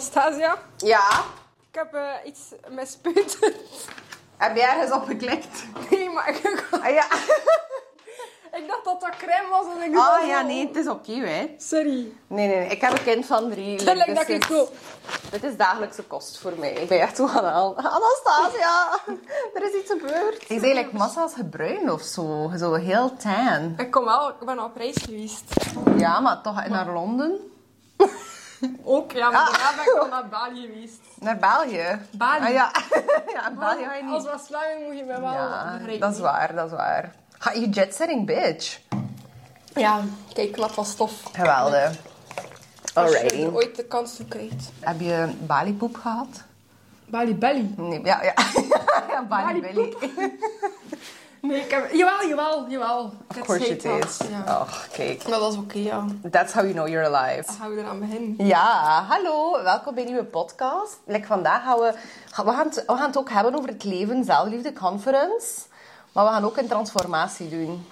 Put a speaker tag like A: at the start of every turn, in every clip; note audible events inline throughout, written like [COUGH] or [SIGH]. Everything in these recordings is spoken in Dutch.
A: Anastasia,
B: Ja?
A: ik heb eh, iets met [LAUGHS] spuiten.
B: Heb jij ergens op geklikt?
A: Nee, maar ik,
B: Ah, ja.
A: ik dacht dat dat crème was en ik dacht
B: [LAUGHS] Oh ja,
A: zo-
B: nee, het is opnieuw, hè.
A: Sorry.
B: Nee, nee, nee. Ik heb een kind van [LAUGHS] drie.
A: Tuurlijk
B: dus
A: dat [LAUGHS] ik
B: dit-
A: koop.
B: Dit is dagelijkse kost voor mij. Ik ben echt zo aan al. Anastasia, [LAUGHS] er is iets gebeurd. Ik is eigenlijk massa's gebruin of zo. Zo heel tan.
A: Ik kom wel, ik ben op reis geweest.
B: Ja, maar toch naar Londen.
A: Ook, ja,
B: Ah.
A: maar daarna ben ik wel naar Bali
B: [LAUGHS]
A: geweest.
B: Naar België.
A: Bali.
B: Ah, ja. [LAUGHS] oh, ja, in België ga je
A: Als
B: niet.
A: West-Vlaming moet je mij wel
B: Ja,
A: begrijpen.
B: dat is waar, dat is waar. Ga je jetsetting, bitch.
A: Ja, kijk, klap was tof.
B: Geweldig.
A: Als je
B: Alrighty.
A: er ooit de kans toe krijgt.
B: Heb je Bali-poep gehad?
A: Bali Belly.
B: Nee, ja, [LAUGHS] ja. ja Bali Belly.
A: Nee, ik heb... Jawel, jawel, jawel. Ik
B: Of
A: heb
B: course it
A: het
B: is.
A: Ja.
B: Och, kijk.
A: Maar dat is oké, ja.
B: That's how you know you're alive.
A: Dan gaan we eraan beginnen.
B: Ja, hallo. Welkom bij een nieuwe podcast. Like, vandaag gaan we... ga- We gaan, het, we gaan het ook hebben over het leven, zelfliefde, conference. Maar we gaan ook een transformatie doen.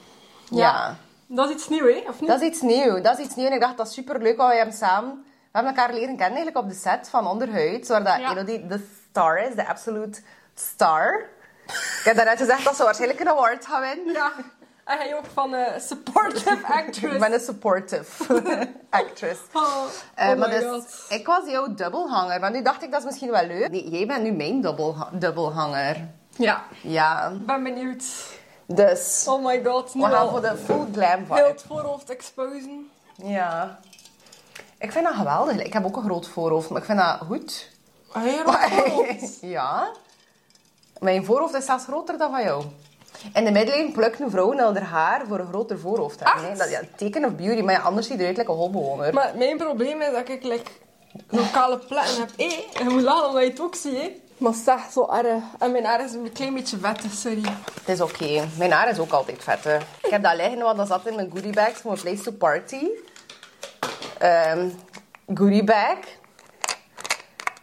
B: Ja.
A: Dat is iets nieuws, hè? Of niet?
B: Dat is iets nieuws. Dat is iets nieuws. En ik dacht, dat is superleuk, want wij hebben samen... We hebben elkaar leren kennen eigenlijk op de set van Onderhuid. Waar dat
A: Ja.
B: Elodie de star is, de absolute star. Ik heb daarnet gezegd dat ze waarschijnlijk een award gaan winnen.
A: Ja. En hij ook van eh, supportive
B: [LAUGHS]
A: actress.
B: Ik ben een supportive
A: [LAUGHS]
B: actress.
A: Oh,
B: Eh,
A: oh
B: maar
A: my
B: dus,
A: god.
B: ik was jouw dubbelhanger, want nu dacht ik dat is misschien wel leuk. Nee, jij bent nu mijn dubbelha- dubbelhanger.
A: Ja,
B: Ja,
A: ik ben benieuwd.
B: dus
A: Oh my god, nu
B: we gaan
A: al
B: voor de full glam
A: heel
B: vibe.
A: het voorhoofd exposen.
B: Ja. Ik vind dat geweldig. Ik heb ook een groot voorhoofd, maar ik vind dat goed.
A: [LAUGHS] Heel het
B: [LAUGHS]
A: voorhoofd.
B: ja. Mijn voorhoofd is zelfs groter dan van jou. In de middeleeuwen plukten vrouwen al haar haar voor een groter voorhoofd. te hebben,
A: Echt?
B: hè. Dat, ja, teken of beauty, maar ja, anders ziet je eruit like een holbewoner.
A: Maar mijn probleem is dat ik like, zo'n kale plekken heb. Hé, je moet lachen omdat je het ook ziet, hè. Maar zeg, zo erg. En mijn haar is een klein beetje vettig, sorry.
B: Het is oké. Mijn haar is ook altijd vet. hè. Ik heb dat liggen, want dat zat in mijn goodie bag voor Place to Party. Ehm goodie bag.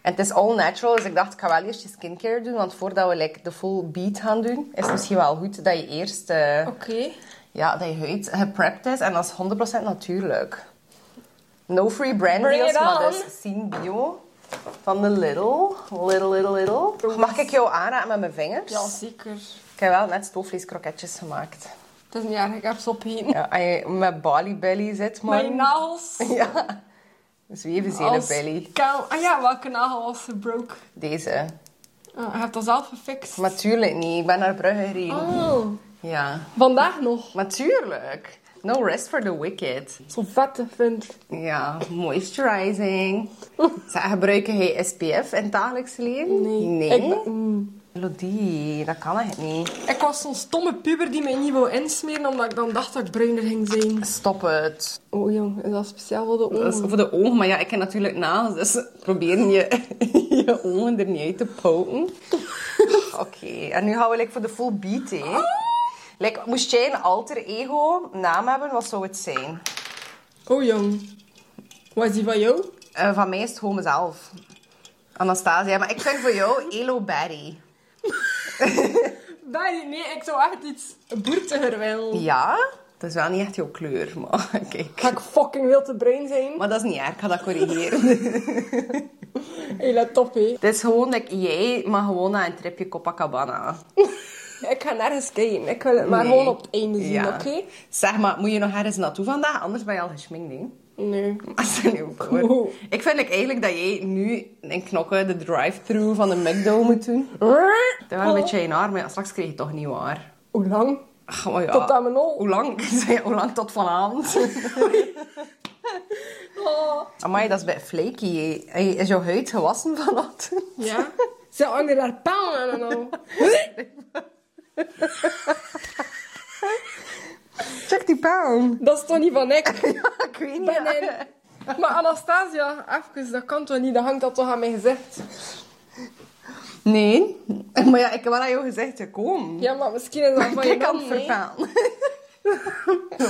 B: En het is all natural, dus ik dacht, ik ga wel eerst je skincare doen. Want voordat we like, de full beat gaan doen, is het misschien wel goed dat je eerst eh,
A: Oké.
B: ja, dat je huid geprept is. En dat is 100% natuurlijk. No free brand
A: Bring
B: deals,
A: it
B: maar
A: on.
B: dat is Sien Bio. Van de Little. Little, Little, Little. Mag ik jou aanraken met mijn vingers?
A: Ja, zeker.
B: Ik heb wel net stoofvleeskroketjes gemaakt.
A: Het is niet erg, ik heb ze opgeten.
B: Ja, als je met Bali belly zit, man.
A: Mijn nagels.
B: Ja. Zwevenzele
A: als
B: belly.
A: kaal- Ah ja, welke nagel was gebroken?
B: Deze.
A: Ah, je hebt dat zelf gefixt.
B: Maar tuurlijk niet. Ik ben naar Brugge gereden.
A: Oh,
B: Ja.
A: vandaag nog.
B: Maar tuurlijk. No rest for the wicked.
A: Zo'n vette vind.
B: Ja, moisturizing. Zeg, gebruik jij SPF in het dagelijks leven?
A: Ik, ben- mm.
B: Elodie, dat kan echt niet.
A: Ik was zo'n stomme puber die mij niet wou insmeren, omdat ik dan dacht dat ik bruiner ging zijn.
B: Stop het.
A: Oh jong, is dat speciaal voor de
B: Dat is
A: ogen?
B: voor de ogen, maar ja, ik heb natuurlijk nagels, dus proberen je, [LAUGHS] je ogen er niet uit te poten. Oké, en nu gaan we like, voor de full beat, hè. Like, moest jij een alter ego naam hebben, wat zou het zijn?
A: Oh jong. Was die van jou?
B: Eh, van mij is het gewoon mezelf. Anastasia, maar ik vind voor jou Elo Berry.
A: Nee, nee, ik zou echt iets boertiger willen.
B: Ja, dat is wel niet echt jouw kleur, maar [LAUGHS] kijk.
A: Ga ik fucking wil te bruin zijn?
B: Maar dat is niet erg, ik ga dat corrigeren.
A: Hé, let op hé.
B: het is gewoon, like, jij maar gewoon naar een tripje Copacabana.
A: [LAUGHS] Ik ga nergens kijken. Ik wil het maar
B: Nee.
A: gewoon op het einde zien,
B: Ja.
A: oké?
B: Zeg maar, moet je nog ergens naartoe vandaag? Anders ben je al geschminkt, hè? [LAUGHS]
A: Nee.
B: Stel je voor.
A: Cool.
B: Ik vind like, eigenlijk dat jij nu in knokken de drive-thru van de McDo moet doen. Dat
A: Oh.
B: wel een beetje in haar, maar ja, straks krijg je het toch niet waar.
A: Hoe lang?
B: Ach, maar ja.
A: Tot aan mijn oog.
B: Hoe lang? [LAUGHS] Hoe lang tot vanavond? [LAUGHS]
A: Oh.
B: Amai, dat is bij flaky. hè. Hey, is jouw huid gewassen vannacht? [LAUGHS]
A: Ja? [LAUGHS] Ze hangen daar pijlen aan en al.
B: Check die pound.
A: Dat is toch niet van
B: [LAUGHS]
A: ik?
B: Ik weet niet.
A: Nee, nee, nee. Maar Anastasia, even, dat kan toch niet? Dan hangt dat toch aan mijn gezicht?
B: [LAUGHS] Nee. Maar ja, ik heb wel aan jou gezegd, hè, kom.
A: Ja, maar misschien is
B: [LAUGHS]
A: dat van je
B: ik kan
A: man,
B: het
A: nee.
B: vertalen.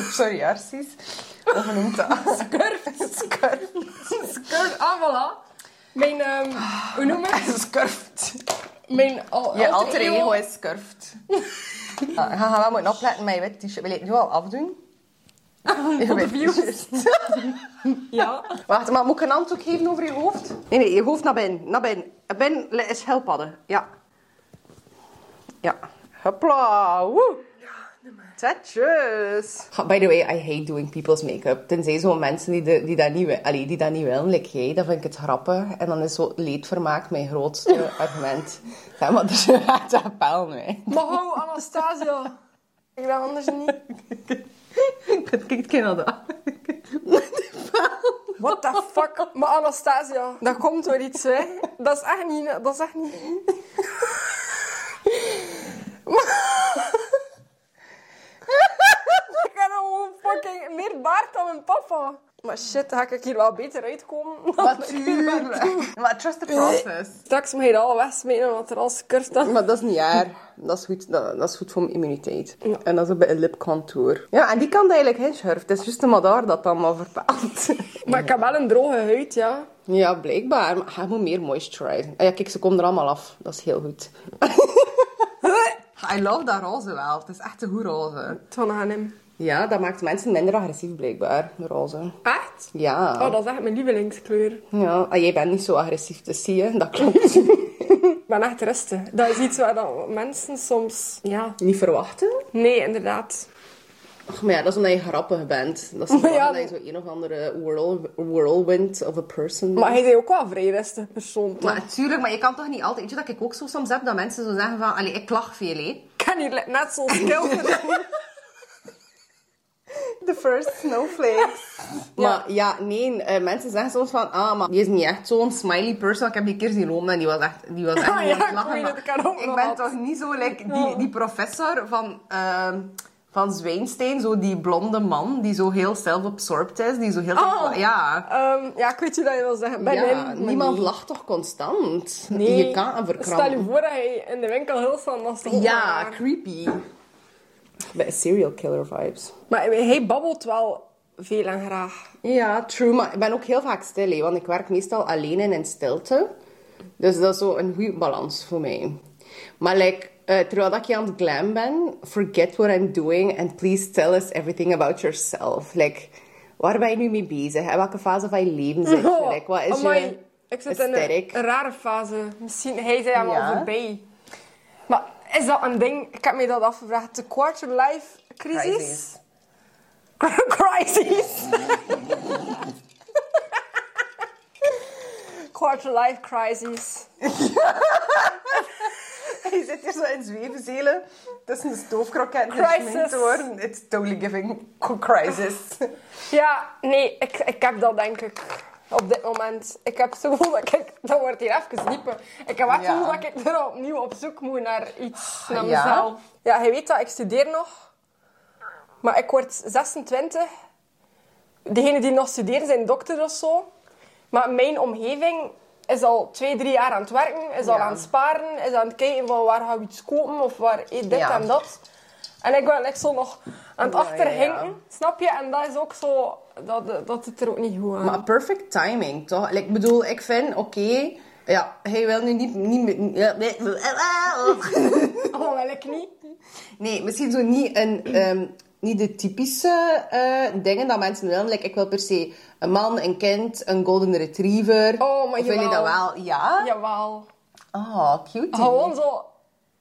B: [LAUGHS] Sorry, Arsies. Hoe noemt dat? Skurft.
A: Skirt, ah, voilà. Mijn, ehm, hoe noem ik het?
B: Skurft.
A: Mijn al,
B: Je alter ego is Ah, skurft. Ja, we gaan wel moeten opletten met je wit t-shirt. Wil je het nu al afdoen? Je
A: [LAUGHS] Op de
B: weet
A: views.
B: [LAUGHS] het juist.
A: Ja.
B: Wacht, maar moet ik een hand ook geven over je hoofd? Nee, nee, je hoofd naar binnen. Naar binnen. Eh, Binnen li- is helpadden. Ja. Ja. Hopla. Woe. Tetjes. By the way, I hate doing people's make-up. Tenzij zo'n mensen die, de, die, dat niet, wi- allee, die dat niet willen, like jij, dan vind ik het grappig. En dan is zo leedvermaak mijn [LAUGHS] grootste argument. Zeg maar, dus je gaat dat pijl mee.
A: Maar hou, Anastasia. Ik ben anders niet.
B: Ik kijk naar [LAUGHS] dat.
A: What the fuck? Maar Anastasia, daar komt weer iets, hè. Dat is echt niet... Dat is echt niet...
B: [LAUGHS]
A: ik heb gewoon fucking meer baard dan mijn papa. Maar shit, dan ga ik hier wel beter uitkomen. dan [LAUGHS] ik hier ben.
B: Natuurlijk. Maar trust the process.
A: Straks moet je dat al wegsmijten, want er al kurst dan.
B: Eh, Maar dat is niet waar. Dat is goed, dat, dat is goed voor mijn immuniteit. En dat is ook bij een lipcontour. Ja, en die kan eigenlijk inschurven. Het is juist maar daar dat dan maar verpaalt.
A: Maar ik heb wel een droge huid, ja.
B: [LAUGHS] ja, blijkbaar. Maar hij moet meer moisturize. Ah ja, kijk, ze komen er allemaal af. Dat is heel goed. [LAUGHS] I love dat roze wel. Het is echt een goed roze.
A: Van hem.
B: Ja, dat maakt mensen minder agressief blijkbaar, de roze.
A: Echt?
B: Ja.
A: Oh, dat is echt mijn lievelingskleur.
B: ja. Ah, jij bent niet zo agressief, dus zie je. Dat klopt. [LAUGHS]
A: Ik ben echt rustig. Dat is iets waar dan mensen soms... Ja.
B: niet verwachten.
A: Nee, inderdaad.
B: Ach, maar ja, dat is omdat je grappig bent. Dat is omdat
A: ja,
B: je zo een of andere whirl, whirlwind of a person
A: Maar hij is ook wel een vrij rustig persoon, toch?
B: Maar natuurlijk, maar je kan toch niet altijd... Weet je dat ik ook zo soms heb dat mensen zo zeggen van... Allee, ik lach veel, hè.
A: Ik kan hier le- net zo'n [LAUGHS] schilderen.
B: The first snowflakes. Maar [LAUGHS] ja, nee, eh, mensen zeggen soms van... Ah, maar die is niet echt zo'n smiley person. Ik heb die een keer zien lopen en die was echt, [LAUGHS] die was echt
A: Ja,
B: niet aan het
A: ik
B: lachen.
A: weet
B: maar
A: het, ik had ook
B: ik
A: nog
B: ben
A: wat.
B: toch niet zo like die, die professor van... ehm, van Zwijnstein, zo die blonde man die zo heel self-absorbed is, die zo heel...
A: Oh.
B: Ja.
A: Ehm, ja, ik weet je dat je wil zeggen. Bij
B: Ja,
A: hem, maar
B: niemand
A: nee.
B: lacht toch constant?
A: Nee.
B: Je kan een
A: Stel je
B: verkrampen.
A: voor dat hij in de winkel heel snel naast de
B: Ja,
A: hond-
B: creepy. Bij serial killer vibes.
A: Maar hij babbelt wel veel en
B: [LAUGHS]
A: graag.
B: Ja, true. Maar ik ben ook heel vaak stil, hè, want ik werk meestal alleen en in stilte. Dus dat is zo een goede balans voor mij. Maar like, eh, terwijl dat ik hier aan het glam ben, forget what I'm doing and please tell us everything about yourself. Like, waar ben je nu mee bezig? In welke fase van je leven
A: [LAUGHS]
B: zit je? Like, wat is
A: Oh, Amai,
B: je
A: Ik zit in
B: aesthetic?
A: een, een rare fase. Misschien, hij zei hem
B: Ja.
A: al voorbij. Maar is dat een ding? Ik heb me dat afgevraagd. De quarter life crisis? [LAUGHS] crisis.
B: [LAUGHS]
A: quarter life crisis.
B: [LAUGHS] Je zit hier zo in zwevenzelen tussen de stoofkroket en
A: de Crisis.
B: worden. It's totally giving
A: [LAUGHS]
B: crisis.
A: Ja, nee, ik, ik heb dat denk ik op dit moment. Ik heb zo gevoel dat ik... Dat wordt hier even dieper. Ik heb echt het
B: Ja.
A: gevoel dat ik er opnieuw op zoek moet naar iets, naar
B: Ja?
A: mezelf. Ja, hij weet dat, ik studeer nog. Maar ik word 26. Degenen die nog studeren zijn dokter of zo. Maar mijn omgeving is al twee, drie jaar aan het werken. Is al
B: Ja.
A: aan het sparen. Is aan het kijken van waar gaan we iets kopen of waar eh, dit
B: Ja.
A: en dat. En ik ben echt zo nog aan het
B: Ja, ja,
A: achterhinken.
B: ja.
A: Snap je? En dat is ook zo... Dat, dat het er ook niet goed aan. [LAUGHS]
B: Maar perfect timing, toch? Like, ik bedoel, ik vind, oké... ja, hij wil nu niet... niet meer- ja, nee, [LAUGHS]
A: Oh, wel ik niet.
B: nee, misschien zo niet een... ehm, niet de typische eh, dingen dat mensen willen. Like, ik wil per se een man, een kind, een golden retriever.
A: Oh, maar
B: Of wil je dat
A: jawel.
B: wel? Ja?
A: Jawel.
B: Oh, cute.
A: Gewoon zo...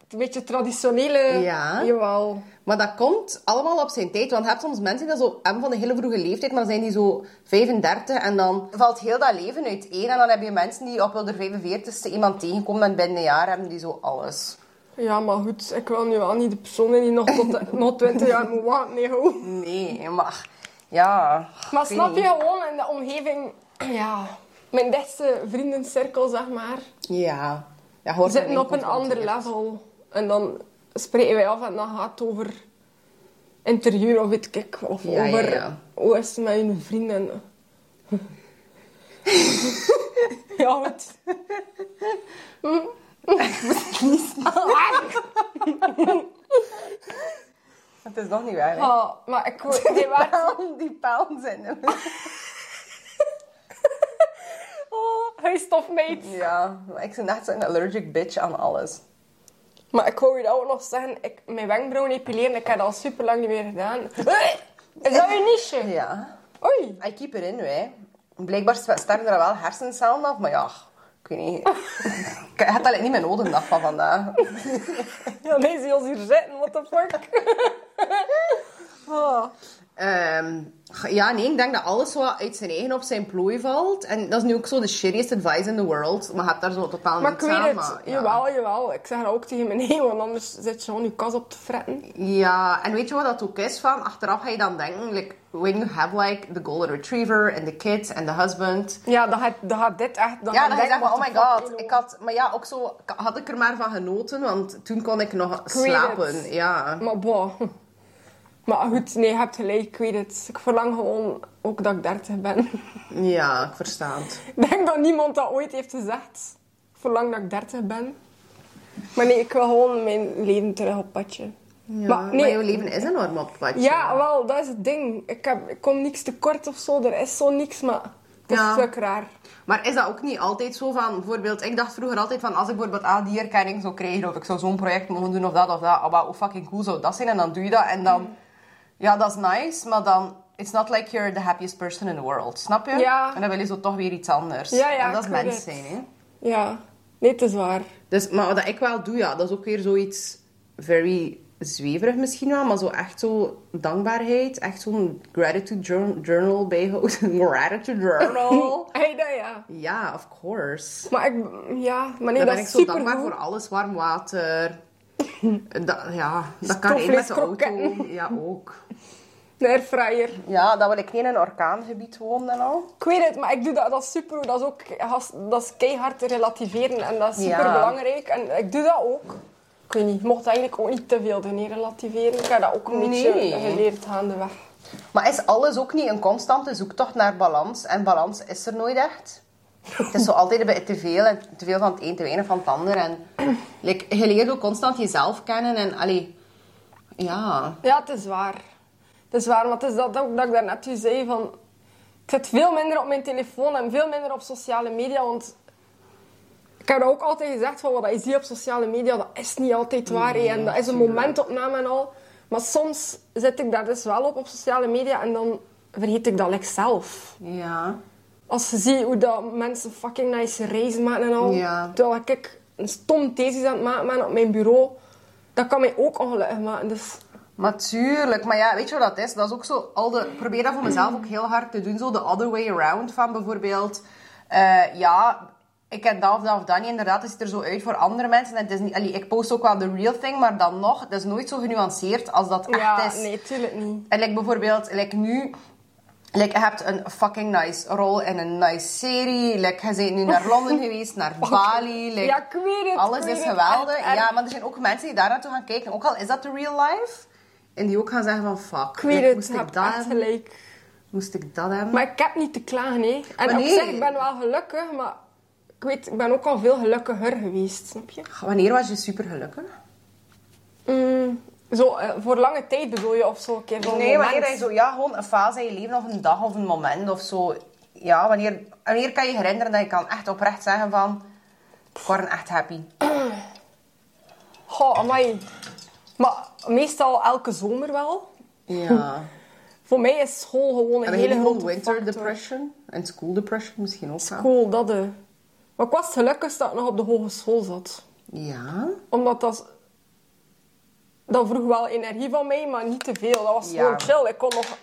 A: Een beetje traditionele...
B: Ja.
A: Jawel.
B: Maar dat komt allemaal op zijn tijd. Want je hebt soms mensen die dat zo hebben van een hele vroege leeftijd, maar dan zijn die zo 35 en dan valt heel dat leven uiteen. En dan heb je mensen die op hun 45ste iemand tegenkomen en binnen een jaar hebben die zo alles.
A: Ja, maar goed. Ik wil nu wel niet de persoon zijn die nog tot de-
B: [LAUGHS]
A: nog 20 jaar moet wachten. Nee, hoe?
B: Nee, maar ja.
A: Maar
B: ik weet
A: snap je
B: niet.
A: gewoon in de omgeving, ja, mijn beste vriendencirkel, zeg maar,
B: Ja. ja hoort
A: zitten
B: ermee
A: op een ander
B: geconfronteerd.
A: level. En dan spreken wij af en dan gaat het over interieur of weet ik, of
B: Ja, ja,
A: over
B: ja.
A: hoe is het met hun vrienden. [LAUGHS] ja,
B: [LAUGHS]
A: wat?
B: Het is nog niet waar. hè?
A: Ja, Ah, maar ik word- Oh, nee, waar.
B: [LAUGHS] Die pijlen zijn hem.
A: Oh, [LAUGHS] hij stopt mij.
B: Ja, maar ik ben echt zo'n allergic bitch aan alles. [LAUGHS]
A: Maar ik wou je dat ook nog zeggen, ik, mijn wenkbrauwen epileren, ik heb dat al super lang niet meer gedaan. Is dat je niche?
B: Ja.
A: Oei.
B: I keep it in, wij. Blijkbaar st- sterven er wel hersencellen af, maar ja, ik weet niet. [LAUGHS] ik had dat niet meer nodig, dag van vandaag.
A: [LAUGHS] Ja, nee, zie ons hier zitten. What the fuck? [LAUGHS] Ah.
B: Ehm, ja, nee, ik denk dat alles wat uit zijn eigen op zijn plooi valt. En dat is nu ook zo de shittiest advice in the world. Maar je hebt daar zo totaal
A: Maar ik
B: niks
A: weet
B: aan.
A: het.
B: maar, ja.
A: Jawel, jawel. Ik zeg dat ook tegen mijn [LAUGHS] nee, want anders zit je gewoon je kas op te fretten.
B: Ja, en weet je wat dat ook is van? Achteraf ga je dan denken, like, when you have like the golden retriever and the kids and the husband.
A: Ja, dan gaat, dan gaat dit echt... Dan
B: Ja,
A: gaat
B: dan
A: dit
B: ga je zeggen,
A: what
B: oh
A: the
B: my
A: fuck,
B: god.
A: you
B: Ik
A: know.
B: had, maar ja, ook zo k- had ik er maar van genoten, want toen kon ik nog
A: weet
B: slapen.
A: het.
B: Ja.
A: Maar boah. [LAUGHS] Hm. Maar goed, nee, je hebt gelijk. Ik weet het. Ik verlang gewoon ook dat ik dertig ben. [LAUGHS]
B: ja, ik versta het.
A: Ik denk dat niemand dat ooit heeft gezegd. Ik verlang dat ik dertig ben. Maar nee, ik wil gewoon mijn leven terug op padje.
B: Ja, maar, jouw leven is enorm op het platje.
A: Ja, wel, dat is het ding. Ik, heb, ik kom niks tekort of zo. Er is zo niks, maar het is
B: Ja.
A: stuk raar.
B: Maar is dat ook niet altijd zo van, bijvoorbeeld, ik dacht vroeger altijd van, als ik bijvoorbeeld ah, die erkenning zou krijgen, of ik zou zo'n project mogen doen, of dat, of dat, ah, wauw, hoe fucking cool zou dat zijn, en dan doe je dat, en dan,
A: Mm.
B: ja, dat is nice, maar dan, it's not like you're the happiest person in the world, snap je?
A: Ja.
B: En dan wil je zo toch weer iets anders.
A: Ja, ja,
B: en dat is
A: ik weet
B: mens
A: het.
B: zijn, hè.
A: Ja, nee, het is waar.
B: Dus, maar wat ik wel doe, ja, dat is ook weer zoiets very zweverig misschien wel, maar zo echt zo dankbaarheid, echt zo'n gratitude jour- journal bijhouden, [LAUGHS] gratitude [LAUGHS] journal.
A: [LAUGHS] Hey, dat ja.
B: Ja, of course.
A: Maar ik, ja, maar nee, dat
B: Dan ben ik
A: is
B: zo
A: super
B: dankbaar voor alles. Warm [LAUGHS] water. Dat, ja, dat kan één met de auto.
A: Stofvleeskroketten.
B: Ja, ook.
A: Een airfryer.
B: Ja, dat wil ik niet in een orkaangebied wonen en al.
A: Ik weet het, maar ik doe dat, dat is super. Dat is ook gas- dat is keihard te relativeren en dat is
B: Ja.
A: super belangrijk. En ik doe dat ook. Ik weet niet, ik mocht eigenlijk ook niet te veel doen, hè, relativeren. Ik heb dat ook een beetje
B: Nee.
A: geleerd gaandeweg.
B: Maar is alles ook niet een constante zoektocht naar balans? En balans is er nooit echt.
A: [LAUGHS]
B: Het is zo altijd een beetje te veel. En te veel van het een, te weinig van het ander. En like, je leert ook constant jezelf kennen. En allee, ja.
A: Ja, het is waar. Het is waar, maar het is dat ook dat ik daarnet u zei van... Ik zit veel minder op mijn telefoon en veel minder op sociale media, want... Ik heb dat ook altijd gezegd, van wat je ziet op sociale media, dat is niet altijd waar. hè, en dat is een momentopname en al. Maar soms zit ik daar dus wel op, op sociale media, en dan vergeet ik dat like, zelf.
B: Ja.
A: Als je ziet hoe dat mensen fucking nice reizen maken en al.
B: Ja.
A: Terwijl ik een stom thesis aan het maken ben op mijn bureau. Dat kan mij ook ongelukkig maken, dus...
B: Maar tuurlijk, maar ja, weet je wat dat is? Dat is ook zo, al de, ik probeer dat voor mezelf ook heel hard te doen, zo de other way around van bijvoorbeeld, eh, ja, ik heb dat of dat of dat niet, inderdaad, dat ziet er zo uit voor andere mensen. En het is niet, allee, ik post ook wel de real thing, maar dan nog, dat is nooit zo genuanceerd als dat
A: Ja,
B: echt is.
A: nee, tuurlijk niet.
B: En like bijvoorbeeld, like nu... Like, je hebt een fucking nice rol in een nice serie. Like, je bent nu [LAUGHS] naar Londen geweest, naar Bali. Like,
A: Ja, ik weet het,
B: Alles
A: ik weet
B: is
A: het,
B: geweldig.
A: echt erg.
B: Ja, maar er zijn ook mensen die daar naartoe gaan kijken. Ook al is dat de real life. En die ook gaan zeggen van, fuck.
A: Ik weet
B: like,
A: het,
B: moest
A: je
B: ik
A: hebt
B: dat
A: echt
B: hebben?
A: gelijk.
B: Moest ik dat hebben?
A: Maar ik heb niet te klagen, hè. En
B: Maar
A: op
B: nee.
A: zich, ik ben wel gelukkig, maar... Ik weet, ik ben ook al veel gelukkiger geweest, snap je?
B: Wanneer was je super gelukkig?
A: Mm, zo, eh, voor lange tijd bedoel je, of zo, een keer zo'n
B: Nee,
A: moment.
B: wanneer je zo, ja, gewoon een fase in je leven of een dag of een moment of zo. Ja, wanneer, wanneer kan je je herinneren dat je kan echt oprecht zeggen van, ik word echt happy.
A: Goh, amai. Maar meestal elke zomer wel.
B: Ja.
A: Voor mij is school gewoon een
B: En
A: hele
B: hele
A: grote
B: winter
A: factor.
B: depression en school depression misschien ook wel.
A: Cool, dat eh. Maar ik was gelukkig dat ik nog op de hogeschool zat.
B: Ja.
A: Omdat dat... Dat vroeg wel energie van mij, maar niet te veel. Dat was
B: Ja.
A: gewoon chill. Ik kon, nog,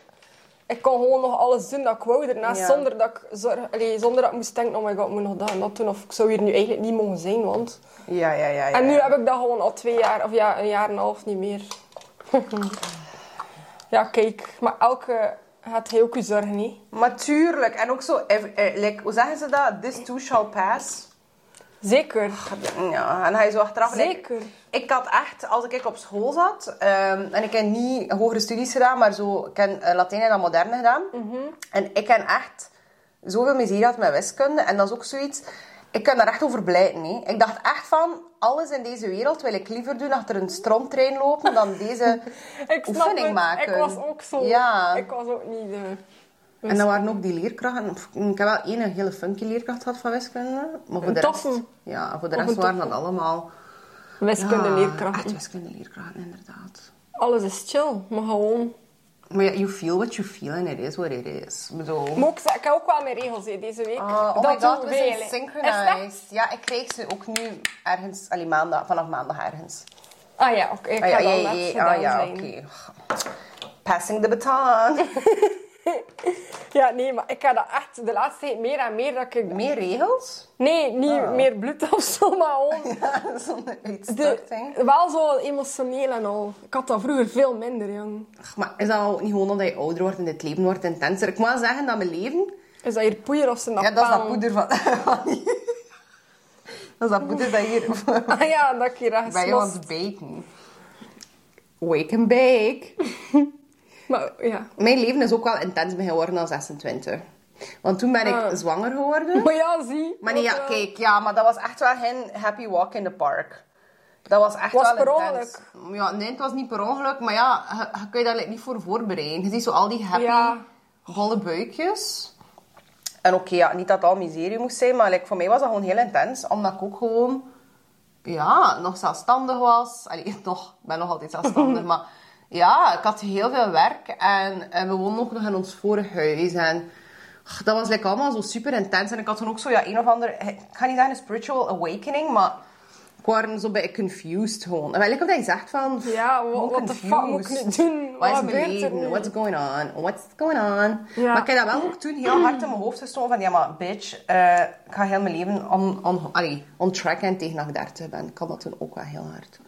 A: ik kon gewoon nog alles doen dat ik wou daarnaast.
B: Ja.
A: Zonder, dat ik zorg, allee, zonder dat ik moest denken, oh my god, ik moet nog dat en dat doen. Of ik zou hier nu eigenlijk niet mogen zijn, want...
B: Ja, ja, ja. ja.
A: En nu heb ik dat gewoon al twee jaar, of ja, een jaar en een half niet meer. [LAUGHS] ja, kijk. Maar elke gaat heel goed zorgen, niet?
B: Maar tuurlijk, en ook zo, ev- eh, like, hoe zeggen ze dat? This too shall pass.
A: Zeker.
B: Ja, en hij zo achteraf. like,
A: Zeker.
B: ik had echt, als ik op school zat, ehm, en ik heb niet hogere studies gedaan, maar zo, ik heb eh, Latijn en dan moderne gedaan.
A: Mhm.
B: En ik heb echt zoveel plezier gehad met wiskunde. En dat is ook zoiets, ik kan daar echt over blijten. hè. Ik dacht echt van, alles in deze wereld wil ik liever doen achter een stroomtrein lopen dan
A: [LAUGHS]
B: deze
A: Ik snap
B: oefening
A: het.
B: maken.
A: Ik was ook zo.
B: Ja.
A: Ik was ook niet... eh,
B: En dan waren ook die leerkrachten. pff, Ik heb wel één hele funky leerkracht gehad van wiskunde. Maar voor de rest,
A: toffe.
B: ja, voor de
A: Of
B: rest
A: een
B: waren dat allemaal... Ah.
A: wiskundeleerkrachten.
B: Ja, echt wiskundeleerkrachten, inderdaad.
A: Alles is chill, maar gewoon
B: Maar ja, you feel what you feel and it is what it is. Ik bedoel...
A: Maar ook, ik heb ook wel mijn regels hè, deze week.
B: Ah, oh my
A: doen
B: god, we zijn
A: eigenlijk. Is
B: synchronized. Ja, ik kreeg ze ook nu ergens, allee, maandag, vanaf maandag ergens.
A: dat? Ah ja, oké. ik
B: Ah ja,
A: ga
B: ja,
A: dan
B: ja,
A: net
B: ja,
A: gedaan
B: ah, ja,
A: zijn.
B: oké. Passing the [LAUGHS] baton.
A: Ja, nee, maar ik ga dat echt de laatste tijd meer en meer dat ik...
B: Meer regels?
A: Nee, niet
B: Ah.
A: meer bloed of zo, maar gewoon...
B: Ja, zo'n
A: De,
B: uitstorting.
A: wel zo emotioneel en al. Ik had dat vroeger veel minder, jong.
B: Ach, Maar is dat al niet gewoon omdat je ouder wordt en het leven wordt intenser? Ik moet wel zeggen dat mijn leven...
A: Is dat hier poeier of zijn dat
B: Ja, dat is dat
A: paan?
B: poeder van... [LAUGHS] van- dat is dat poeder dat hier [LAUGHS]
A: Ah ja, dat ik hier echt
B: bij
A: los-
B: ons baken. Wake and bake.
A: Maar ja.
B: Mijn leven is ook wel intens ben geworden als 26. Want toen ben ik
A: Ah.
B: zwanger
A: [LAUGHS]
B: geworden.
A: Maar ja, zie.
B: Maar nee,
A: wat,
B: ja,
A: eh,
B: kijk, ja, maar dat was echt wel geen happy walk in the park. Dat was echt
A: Was
B: wel
A: per
B: intens. Ja, nee, het was niet per ongeluk, maar ja, je, je kun je daar eigenlijk niet voor voorbereiden. Je ziet zo al die happy,
A: Ja.
B: holle buikjes. En oké, ja, niet dat het al miserie moest zijn, maar like, voor mij was dat gewoon heel intens. Omdat ik ook gewoon, ja, nog zelfstandig was. Allee, [LAUGHS] nog, ik ben nog altijd
A: [LAUGHS]
B: zelfstandig, maar ja, ik had heel veel werk. En, en we woonden ook nog in ons vorige huis. En ach, dat was like, allemaal zo super intens. En ik had toen ook zo, ja, een of ander, eh, ik ga niet zeggen een spiritual awakening, maar... Ik waren zo bij confused gewoon. En wel, like, of dat je zegt van...
A: Ja, wa-
B: hoe
A: what the fuck moet ik nu
B: confused?
A: doen?
B: Wat is
A: Wat
B: mijn
A: gebeurt er
B: leven?
A: nu?
B: What's going on? What's going on?
A: Ja.
B: Maar ik heb dat wel ook toen heel hard in mijn hoofd gestoken van... Ja, maar bitch, eh, ik ga heel mijn leven on, on, allee, on track en tegen dat ik 30 ben. Ik had dat toen ook wel heel hard.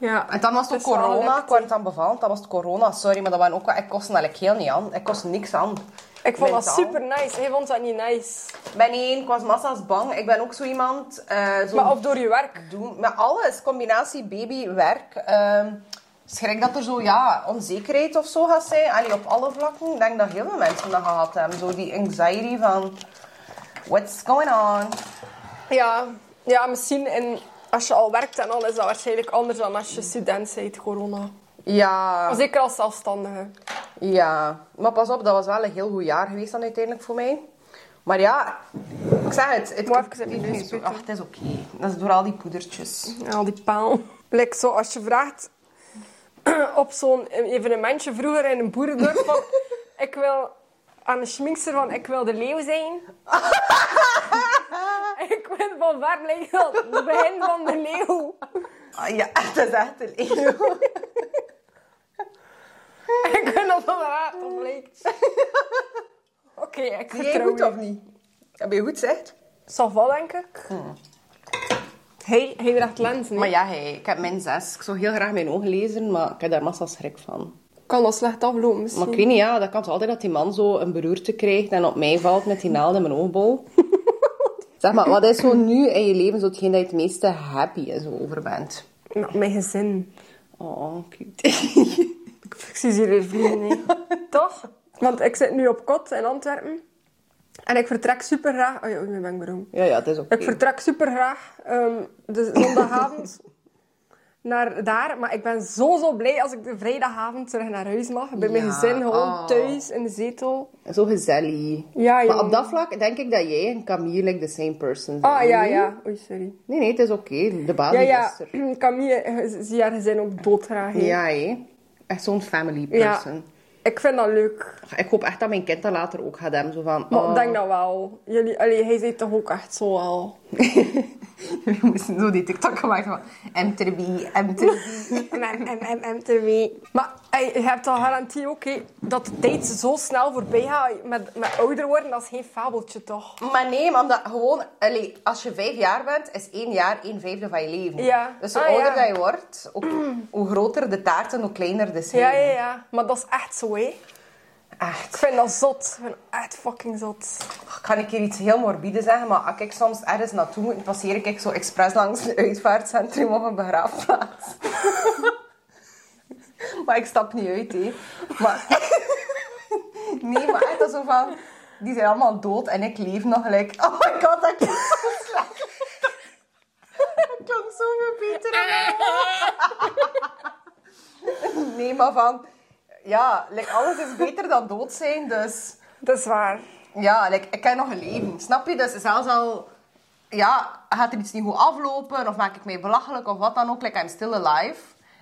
A: Ja.
B: En dan was het
A: Het
B: ook
A: is wel
B: corona.
A: gelukt,
B: Ik word dan bevallen. Dat was het corona. Sorry, maar dat waren ook wel... Ik kostte eigenlijk heel niet aan. Ik kostte niks aan.
A: Ik vond dat
B: Mentaal.
A: super nice. Jij vond dat niet nice.
B: Ik ben één, ik was massa's bang. Ik ben ook zo iemand... eh, zo
A: Maar of door je werk.
B: doen. Met alles, combinatie baby, werk. ehm, schrik dat er zo ja, onzekerheid of zo gaat zijn. Allee, op alle vlakken. Ik denk dat heel veel mensen dat gehad hebben. Zo die anxiety van... What's going on?
A: Ja, ja misschien en als je al werkt en al is dat waarschijnlijk anders dan als je student bent, corona.
B: Ja,
A: Maar Zeker als zelfstandige.
B: ja. Maar pas op, dat was wel een heel goed jaar geweest dan uiteindelijk voor mij. Maar ja, ik zeg het. het
A: Moet even in je neus
B: Ach, het is oké. Dat is door al die poedertjes.
A: Ja, Al die paal. Like zo, als je vraagt [CLEARS THROAT] op zo'n evenementje vroeger in een boerendorp van... ik wil aan de schminkster van ik wil de leeuw zijn. ik wil van waar lijkt dat het begin van de leeuw.
B: Ah, ja, [LAUGHS] dat is echt een eeuw.
A: ik wil dat van waar dat lijkt. Oké, ik
B: Zie jij
A: vertrouw
B: goed
A: je.
B: of niet? Heb je goed gezegd?
A: Ça va, denk ik. Hij, hij draagt lenzen. hè.
B: Hmm. Maar ja, hey, ik heb mijn zes. Ik zou heel graag mijn ogen lezen, maar ik heb daar massa schrik van.
A: Kan dat slecht aflopen
B: Maar
A: misschien.
B: ik weet niet, ja, dat kan toch altijd dat die man zo een beroerte krijgt en op mij valt met die naald in mijn oogbol. zeg maar, wat is zo nu in je leven zo hetgeen dat je het meeste happy en zo over
A: [LAUGHS]
B: bent?
A: Nou, mijn gezin.
B: Oh,
A: [LAUGHS]
B: cute.
A: Ik zie ze weer vliegen, hè.
B: [LAUGHS]
A: Toch? Want ik zit nu op kot in Antwerpen. En ik vertrek super graag... Oh ja, oei, mijn ben beroemd.
B: ja, ja, dat is oké.
A: Ik vertrek super graag ehm, de
B: [LAUGHS]
A: zondagavond naar daar. Maar ik ben zo, zo blij als ik de vrijdagavond terug naar huis mag. Bij mijn
B: Ja,
A: gezin, gewoon
B: oh.
A: thuis in de zetel.
B: Zo gezellig.
A: Ja,
B: maar
A: jong.
B: op dat vlak denk ik dat jij en Camille like the same person zijn.
A: Ah, ja, ja. Oei, sorry.
B: Nee, nee, het is oké. De
A: Ja,
B: basis
A: ja.
B: is
A: [CLEARS THROAT]
B: er.
A: Camille, eh, zie haar gezin ook doodgraag, hè.
B: Ja, hé. Echt zo'n family
A: Ja,
B: person.
A: ik vind dat leuk.
B: Ik hoop echt dat mijn kind dat later ook gaat hebben. Zo van,
A: Maar
B: oh.
A: ik denk dat wel. Jullie, allee, hij zei toch ook echt zo al.
B: [LAUGHS] We moesten zo die TikTok gemaakt van M3B, M3B.
A: MMMMTV. Maar ey, je hebt al garantie ook hè, dat de tijd zo snel voorbij gaat met, met ouder worden. Dat is geen fabeltje toch?
B: Maar nee, maar omdat gewoon, allee, als je vijf jaar bent, is één jaar één vijfde van je leven.
A: Ja.
B: Dus hoe
A: Ah,
B: ouder
A: ja.
B: dat je wordt, ook, hoe [CLEARS THROAT] groter de taart en hoe kleiner de scene.
A: Ja, ja, ja. Maar dat is echt zo hè.
B: Echt.
A: Ik vind dat zot. Ik vind dat echt fucking zot.
B: Ik ga een keer iets heel morbide zeggen, maar als ik soms ergens naartoe moet, passeer ik zo expres langs een uitvaartcentrum of een begraafplaats. [LAUGHS] maar ik stap niet uit, hé. Maar... [LAUGHS] nee, maar echt dat zo van... Die zijn allemaal dood en ik leef nog. Like, oh my god, dat klinkt zo slecht. dat klonk zo verbeterd. [LAUGHS] nee, maar van... Ja, like, alles is beter dan dood zijn, dus...
A: Dat is waar.
B: Ja, like, ik heb nog een leven. Snap je? Dus zelfs al... Ja, gaat er iets niet goed aflopen? Of maak ik mij belachelijk? Of wat dan ook? Like, I'm still alive.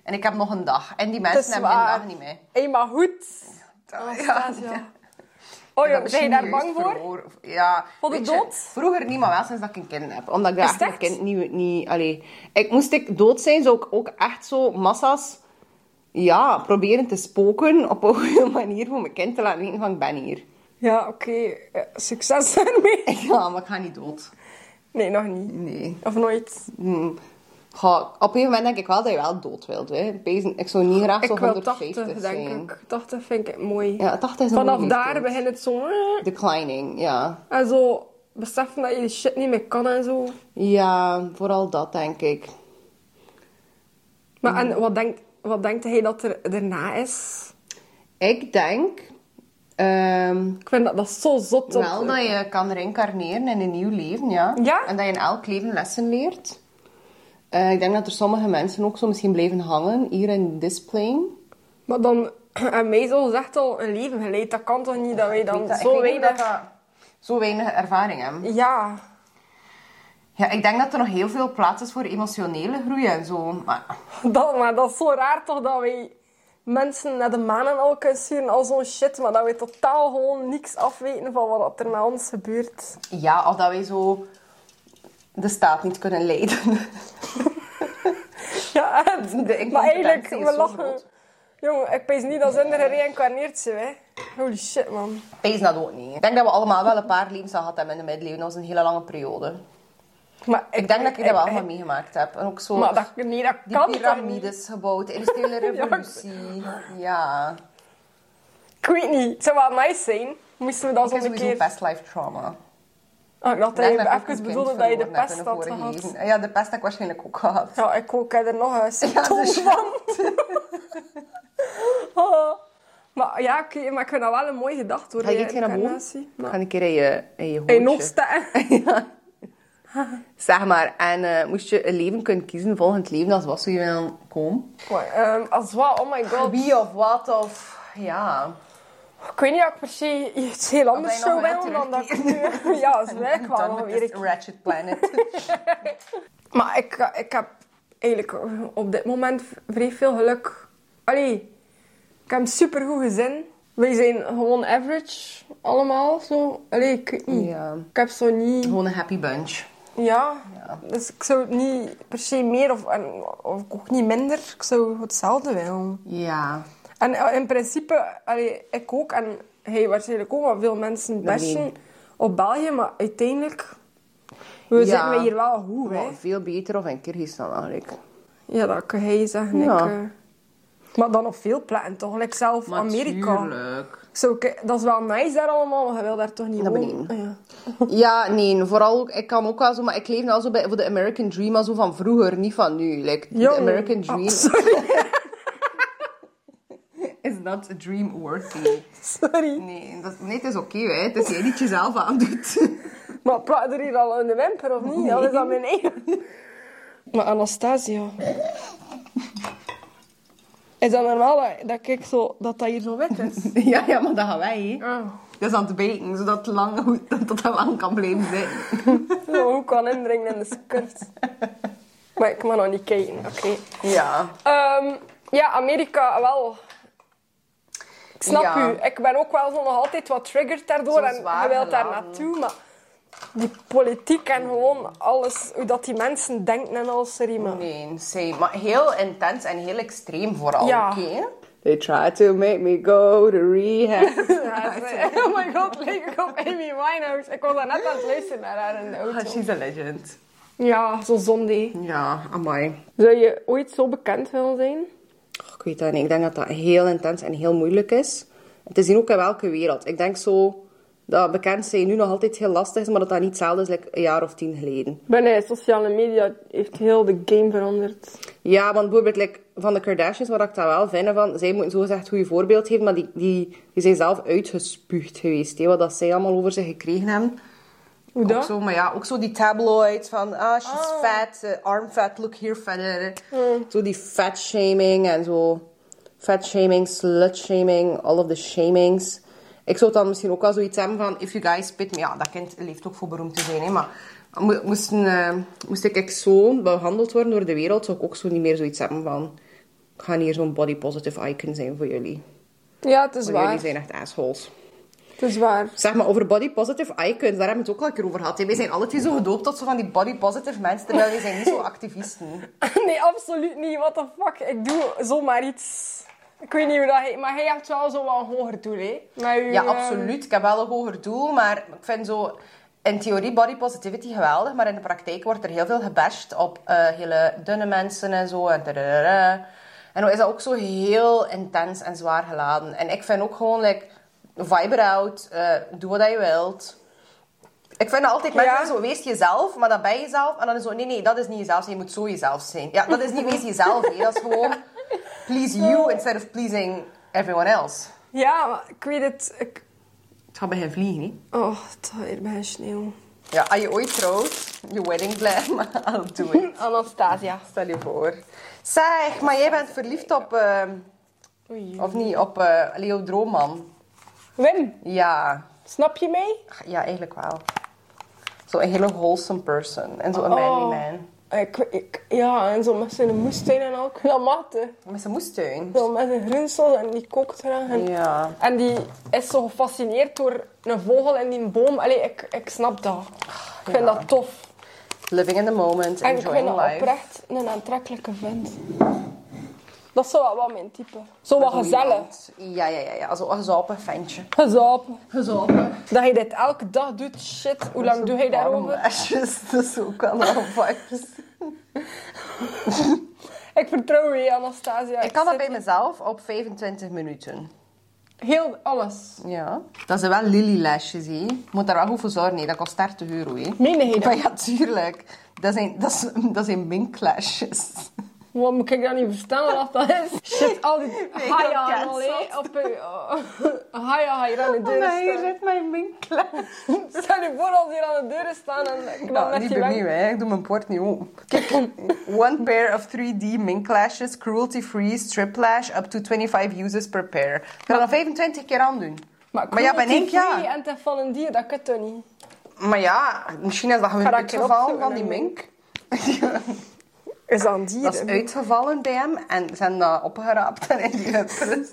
B: En ik heb nog een dag. En die
A: Het
B: mensen
A: is
B: hebben die
A: waar. Oh,
B: dag niet mee.
A: Hé, maar goed. Anastasia. Oh joh, ben je daar bang voor?
B: Ja.
A: Voor de
B: weet je,
A: dood?
B: vroeger niet, maar wel sinds dat ik een kind heb. Omdat ik daar
A: Is
B: echt
A: het
B: mijn
A: echt?
B: kind niet... niet allee, ik, moest ik dood zijn, zou ik ook echt zo massa's... Ja, proberen te spoken op een goede [LAUGHS] manier voor mijn kind te laten weten van ik ben hier. [LAUGHS]
A: Ja, oké. Eh, succes [LAUGHS] daarmee.
B: Ja, maar ik ga niet dood.
A: Nee, nog niet.
B: Nee.
A: Of nooit.
B: Hm. Goh, op een gegeven moment denk ik wel dat je wel dood wilt. Hè. Bezen- Ik zou niet graag zo
A: Ik wil
B: 150
A: 80,
B: zijn.
A: denk ik. 80 vind ik het mooi.
B: Ja, 80 is een
A: Vanaf
B: mooi
A: daar
B: leeftijd.
A: begint het zo... eh,
B: Declining, ja.
A: En zo beseffen dat je die shit niet meer kan en zo.
B: Ja, vooral dat denk ik.
A: Maar
B: Mm.
A: en wat denkt, wat denkt hij dat er daarna is?
B: Ik denk ehm,
A: Ik vind dat, dat zo zot. om-
B: wel dat je kan reïncarneren in een nieuw leven, ja.
A: Ja?
B: En dat je in elk leven lessen leert. Eh, ik denk dat er sommige mensen ook zo misschien blijven hangen hier in this plane.
A: Maar dan... [CLEARS THROAT] En mij zo zegt al een leven geleid. Dat kan toch niet dat wij dan
B: Ik weet dat- ik
A: zo
B: weet niet
A: weinig...
B: of dat zo weinig ervaring hebben.
A: Ja.
B: Ja, ik denk dat er nog heel veel plaats is voor emotionele groei en zo. Maar
A: Dat, maar dat is zo raar toch dat wij mensen naar de maan en al kunnen sturen al zo'n shit, maar dat wij totaal gewoon niks afweten van wat er met ons gebeurt.
B: ja, of dat wij zo de staat niet kunnen leiden.
A: Ja, echt.
B: De incompetentie
A: maar eigenlijk,
B: is
A: we
B: zo
A: lachen.
B: groot.
A: Jongen, ik pees niet dat ze gereïncarneerd zijn, hè. Holy shit, man.
B: Pees dat ook niet. Ik denk dat we allemaal wel een paar levens al gehad hebben in de middeleeuwen. Dat was een hele lange periode.
A: Maar eh,
B: Ik denk dat ik dat wel van meegemaakt heb. En ook zo
A: Maar dat, nee, dat
B: die
A: kan toch
B: piramides gebouwd, de
A: [LAUGHS]
B: industriële revolutie. ja,
A: niet? Ik weet niet. Het zou wel nice zijn. Moesten we dat
B: ik heb
A: zo'n
B: sowieso
A: keer...
B: pastlife trauma.
A: Ah, ik dacht dat
B: Ik denk
A: je
B: dat ik ook
A: even
B: een
A: bedoelde
B: kind
A: dat je de
B: verloren heb
A: pest
B: in een
A: had
B: vorige
A: gehad.
B: leven. Ja, de pest heb ik waarschijnlijk ook gehad. [LAUGHS]
A: Ja, ik ook. Ik heb er nog een symptoom
B: dus-
A: van. Ah. maar ja, oké, maar ik vind dat wel een mooie gedachte hoor.
B: Ga je iets gaan naar
A: reïncarnatie.
B: boven?
A: Maar-
B: Ga een keer in je, in je
A: Hey,
B: hoofdje.
A: nog staan.
B: Ja. [LAUGHS] Zeg maar, en eh, moest je een leven kunnen kiezen, volgend leven, als was je wil komen?
A: Maar, ehm, als wat, oh my god.
B: Wie of wat of... Ja.
A: Ik weet niet of ik per se iets heel anders
B: nog
A: zou
B: wel
A: willen dan dat ik [LAUGHS]
B: terugkeert.
A: nu- Ja, dat is werk wel nog weer. een keer. [LAUGHS]
B: Ratchet Planet.
A: Maar ik, eh, ik heb eigenlijk op dit moment v- vrij veel geluk. Allee, ik heb een supergoed gezin. Wij zijn gewoon average, allemaal zo. Allee, ik weet niet.
B: Ja.
A: Ik heb zo niet...
B: [LAUGHS] Gewoon een happy bunch.
A: Ja.
B: Ja.
A: dus ik zou het niet per se meer of, en- of ook niet minder. Ik zou hetzelfde willen.
B: Ja.
A: En eh, in principe, allee, ik ook en hij waarschijnlijk ook, maar veel mensen bashen op België, maar uiteindelijk we
B: Ja.
A: zitten we hier wel goed. Hè?
B: Maar Nou, veel beter of in Kyrgyzstan eigenlijk.
A: Ja, dat kan hij zeggen.
B: Ja.
A: Ik, eh. maar dan op veel plekken toch, like zelf Amerika. Zo, ik- dat is wel nice daar allemaal, maar je wil daar toch niet
B: Dat
A: wonen.
B: ben
A: Ja.
B: Ja, nee, vooral, ook- ik kan ook wel zo, maar ik leef nou zo bij, voor de American Dream, maar zo van vroeger, niet van nu. Like, de
A: Jong.
B: American
A: Ah,
B: Dream
A: [LAUGHS] sorry,
B: is not a dream worthy.
A: sorry.
B: Nee, dat, nee, het is oké, hè. het is jij die het jezelf aandoet. [LAUGHS]
A: Maar praat er hier al in de wimper of niet? Dat is aan mijn eigen. Maar Anastasia. Is dat normaal dat, dat ik zo, dat, dat hier zo wit is?
B: [LAUGHS] ja, ja, maar dat gaan wij, hè.
A: Ah.
B: Dat is aan het beken, zodat het lang, goed- dat dat lang kan blijven zitten.
A: Zo Oh, hoe kan indringen in de skirt. Maar ik mag nog niet kijken, oké.
B: [LAUGHS] Ja.
A: Ehm, ja, Amerika wel. Ik snap
B: Ja.
A: u. Ik ben ook wel zo nog altijd wat triggered daardoor.
B: Zo
A: En je
B: zwaar
A: wilt daar
B: geladen.
A: naartoe, maar... Die politiek en gewoon alles, hoe dat die mensen denken en alles, sorry, maar...
B: Nee, same. Maar heel intens en heel extreem vooral,
A: Ja.
B: oké? They try to make me go to [LAUGHS] rehab.
A: oh my god, leek ik op Amy Winehouse. Ik was daarnet aan het luisteren naar haar in de auto.
B: Oh, she's a legend.
A: Ja, zo zonde.
B: Ja, amai.
A: Zou je ooit zo bekend willen zijn?
B: Oh, Ik weet dat niet. Ik denk dat dat heel intens en heel moeilijk is. Het is zien ook in welke wereld. Ik denk zo dat bekend zijn nu nog altijd heel lastig is, maar dat dat niet hetzelfde is like een jaar of tien geleden.
A: Binnen sociale media heeft heel de game veranderd.
B: Ja, want bijvoorbeeld like, van de Kardashians, wat ik daar wel vind, van, zij moeten zogezegd goede voorbeeld geven, maar die, die, die zijn zelf uitgespuugd geweest. Hè, wat dat zij allemaal over zich gekregen hebben.
A: Hoe
B: Ook zo, maar ja, ook zo die tabloids van, ah, she's fat, eh, arm fat, look here verder. Zo die fat shaming en zo. Fat shaming, slut shaming, all of the shamings. Ik zou dan misschien ook wel zoiets hebben van, if you guys spit me. Ja, dat kind leeft ook voor beroemd te zijn, hè, maar mo- moesten, eh, moest ik echt zo behandeld worden door de wereld, zou ik ook zo niet meer zoiets hebben van, gaan hier zo'n body positive icon zijn voor jullie.
A: Ja, het is
B: Want
A: waar.
B: jullie zijn echt assholes.
A: Het is waar. [LAUGHS]
B: Zeg maar over body positive icons, daar hebben we het ook al een keer over gehad. hè. Wij zijn alle twee zo gedoopt tot zo van die body positive mensen, terwijl wij zijn niet zo activisten.
A: Nee, absoluut niet. What the fuck? Ik doe zomaar iets. Ik weet niet hoe dat heet, maar hij hebt wel zo wel een hoger doel, hè? Met uw,
B: Ja,
A: eh,
B: absoluut. Ik heb wel een hoger doel, maar ik vind zo... In theorie body positivity geweldig, maar in de praktijk wordt er heel veel gebashed op eh, hele dunne mensen en zo. En, tadadada. en dan is dat ook zo heel intens en zwaar geladen. En ik vind ook gewoon, like, vibe out, eh, doe wat je wilt. Ik vind dat altijd mensen
A: Ja.
B: zo, wees jezelf, maar dan ben je jezelf. En dan is zo, nee, nee, dat is niet jezelf, je moet zo jezelf zijn. Ja, dat is niet wees jezelf, hè. dat is [LAUGHS] gewoon please you instead of pleasing everyone else.
A: Ja, maar ik weet het. Ik...
B: Het gaat bij hen vliegen, hè.
A: Oh, tired bij sneeuw.
B: Ja, als je ooit trouwt, je wedding plan, [LAUGHS] maar I'll do it.
A: Hm, Anastasia.
B: Stel je voor. Zeg, maar jij bent verliefd op, eh,
A: Oei.
B: of niet, op eh, Leo Droomman.
A: Wim,
B: Ja,
A: snap je mij?
B: ja, eigenlijk wel. Zo'n hele wholesome person en zo'n manly
A: Oh.
B: man.
A: Ik, ik, ja, en zo met zijn moestuin en al. Ik wil dat maten.
B: Met zijn moestuin.
A: Zo met zijn grinsels en die kookt graag. En,
B: Ja.
A: en die is zo gefascineerd door een vogel in die boom. Allee, ik, ik snap dat. Ik vind
B: Ja.
A: dat tof.
B: Living in the moment,
A: En ik vind
B: enjoying
A: dat
B: life.
A: oprecht een aantrekkelijke vent. Dat is zo wat, wat mijn type. Zo
B: Met
A: wat
B: zo
A: gezellig.
B: iemand. Ja, ja, ja, ja. Zo'n gezapig ventje.
A: Gezapen.
B: Gezapig.
A: Dat je dit elke dag doet, shit. Hoe lang doe je daarover?
B: Asjes, [LAUGHS] dat is ook wel een vibes.
A: Ik vertrouw je, Anastasia.
B: Ik kan dat
A: zit
B: bij mezelf op 25 minuten.
A: Heel alles.
B: Ja. Dat zijn wel lily-lasjes, hè. Je moet daar wel goed voor zorgen, hè. Dat kost 30 euro, hè.
A: Meen je dat?
B: Maar ja, tuurlijk. Dat zijn, dat is- dat zijn minklasjes.
A: Wat moet ik dat niet verstaan wat dat is? Shit, al
B: [LAUGHS]
A: die
B: ik
A: haja en
B: heb
A: al, hè. Op een... [LAUGHS] Haja, haja aan de deur staan.
B: Oh, mijn minklas.
A: [LAUGHS] Stel je voor als hier aan de deuren staan en ik dan
B: Nou,
A: met
B: niet
A: die
B: bij
A: weg-
B: mij, hè. Ik doe mijn poort niet open. Kijk. One pair of 3D minklashes, cruelty-free, striplash, up to 25 uses per pair. Ik kan dat 25 keer aandoen.
A: Maar,
B: Maar ja, ben ik, ja.
A: En ten van een dier, dat kan toch niet?
B: Maar ja, misschien is dat gewoon
A: Ga dat
B: uitgevallen
A: een keer
B: van die
A: opzoeken,
B: mink.
A: Is dat een dier?
B: Dat is uitgevallen bij hem en zijn dat opgeraapt en in die hutprust.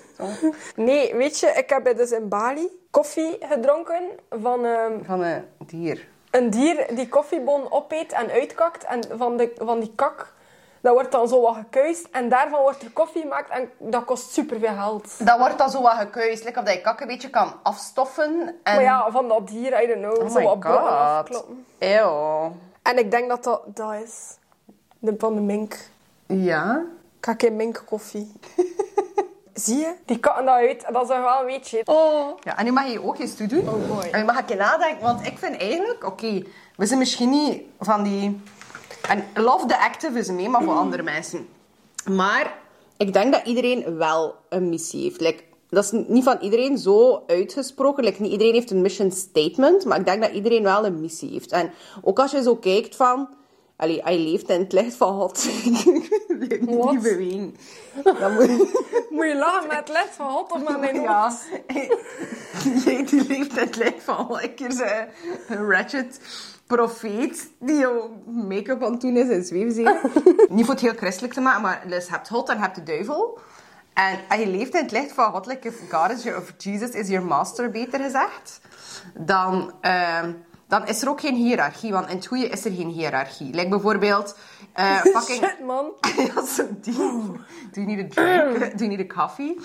A: Nee, weet je, ik heb dus in Bali koffie gedronken van ehm,
B: Van een dier.
A: een dier die koffiebon opeet en uitkakt. En van, de, van die kak, dat wordt dan zo wat gekuist. En daarvan wordt er koffie gemaakt en dat kost superveel geld.
B: Dan wordt dat zo wat gekuist, like of dat je kak een beetje kan afstoffen. En...
A: Maar ja, van dat dier, I don't know,
B: oh
A: zo
B: my
A: wat botten
B: god.
A: afkloppen.
B: Eeuw.
A: En ik denk dat dat, dat is. De, van de mink.
B: Ja?
A: Ik ga geen mink koffie. [LAUGHS] Zie je? Die katten dat uit. Dat is toch wel een beetje. Oh.
B: Ja, en nu mag je ook eens toedoen.
A: Oh boy.
B: En nu mag ik je nadenken, want ik vind eigenlijk... Oké, we zijn misschien niet van die... En love the activism, hè, maar voor andere mensen. Maar ik denk dat iedereen wel een missie heeft. Like, dat is niet van iedereen zo uitgesproken. Like, niet iedereen heeft een mission statement, maar ik denk dat iedereen wel een missie heeft. En ook als je zo kijkt van... Allee, hij leeft in het licht van God. [LAUGHS]
A: Wat?
B: niet
A: [LAUGHS]
B: bewegen. Dat moet...
A: Moet je lachen met het led van hot op met mijn [LAUGHS] hoofd.
B: Ja. Jij die leeft het lijf van lekker zo'n ratchet profeet die jouw make-up aan het doen is en zweefzeep. Niet voor het heel christelijk te maken, maar dus je hebt God en je hebt de duivel. En, en je leeft in het licht van God, like if God is your, of Jesus is your master, beter gezegd. Dan, ehm, dan is er ook geen hiërarchie, want in het goede is er geen hiërarchie. Like bijvoorbeeld, eh, fucking...
A: Shit, [LAUGHS] man.
B: Ja, zo diep. Do you need a
A: [CLEARS THROAT]
B: drink? Do you need a coffee?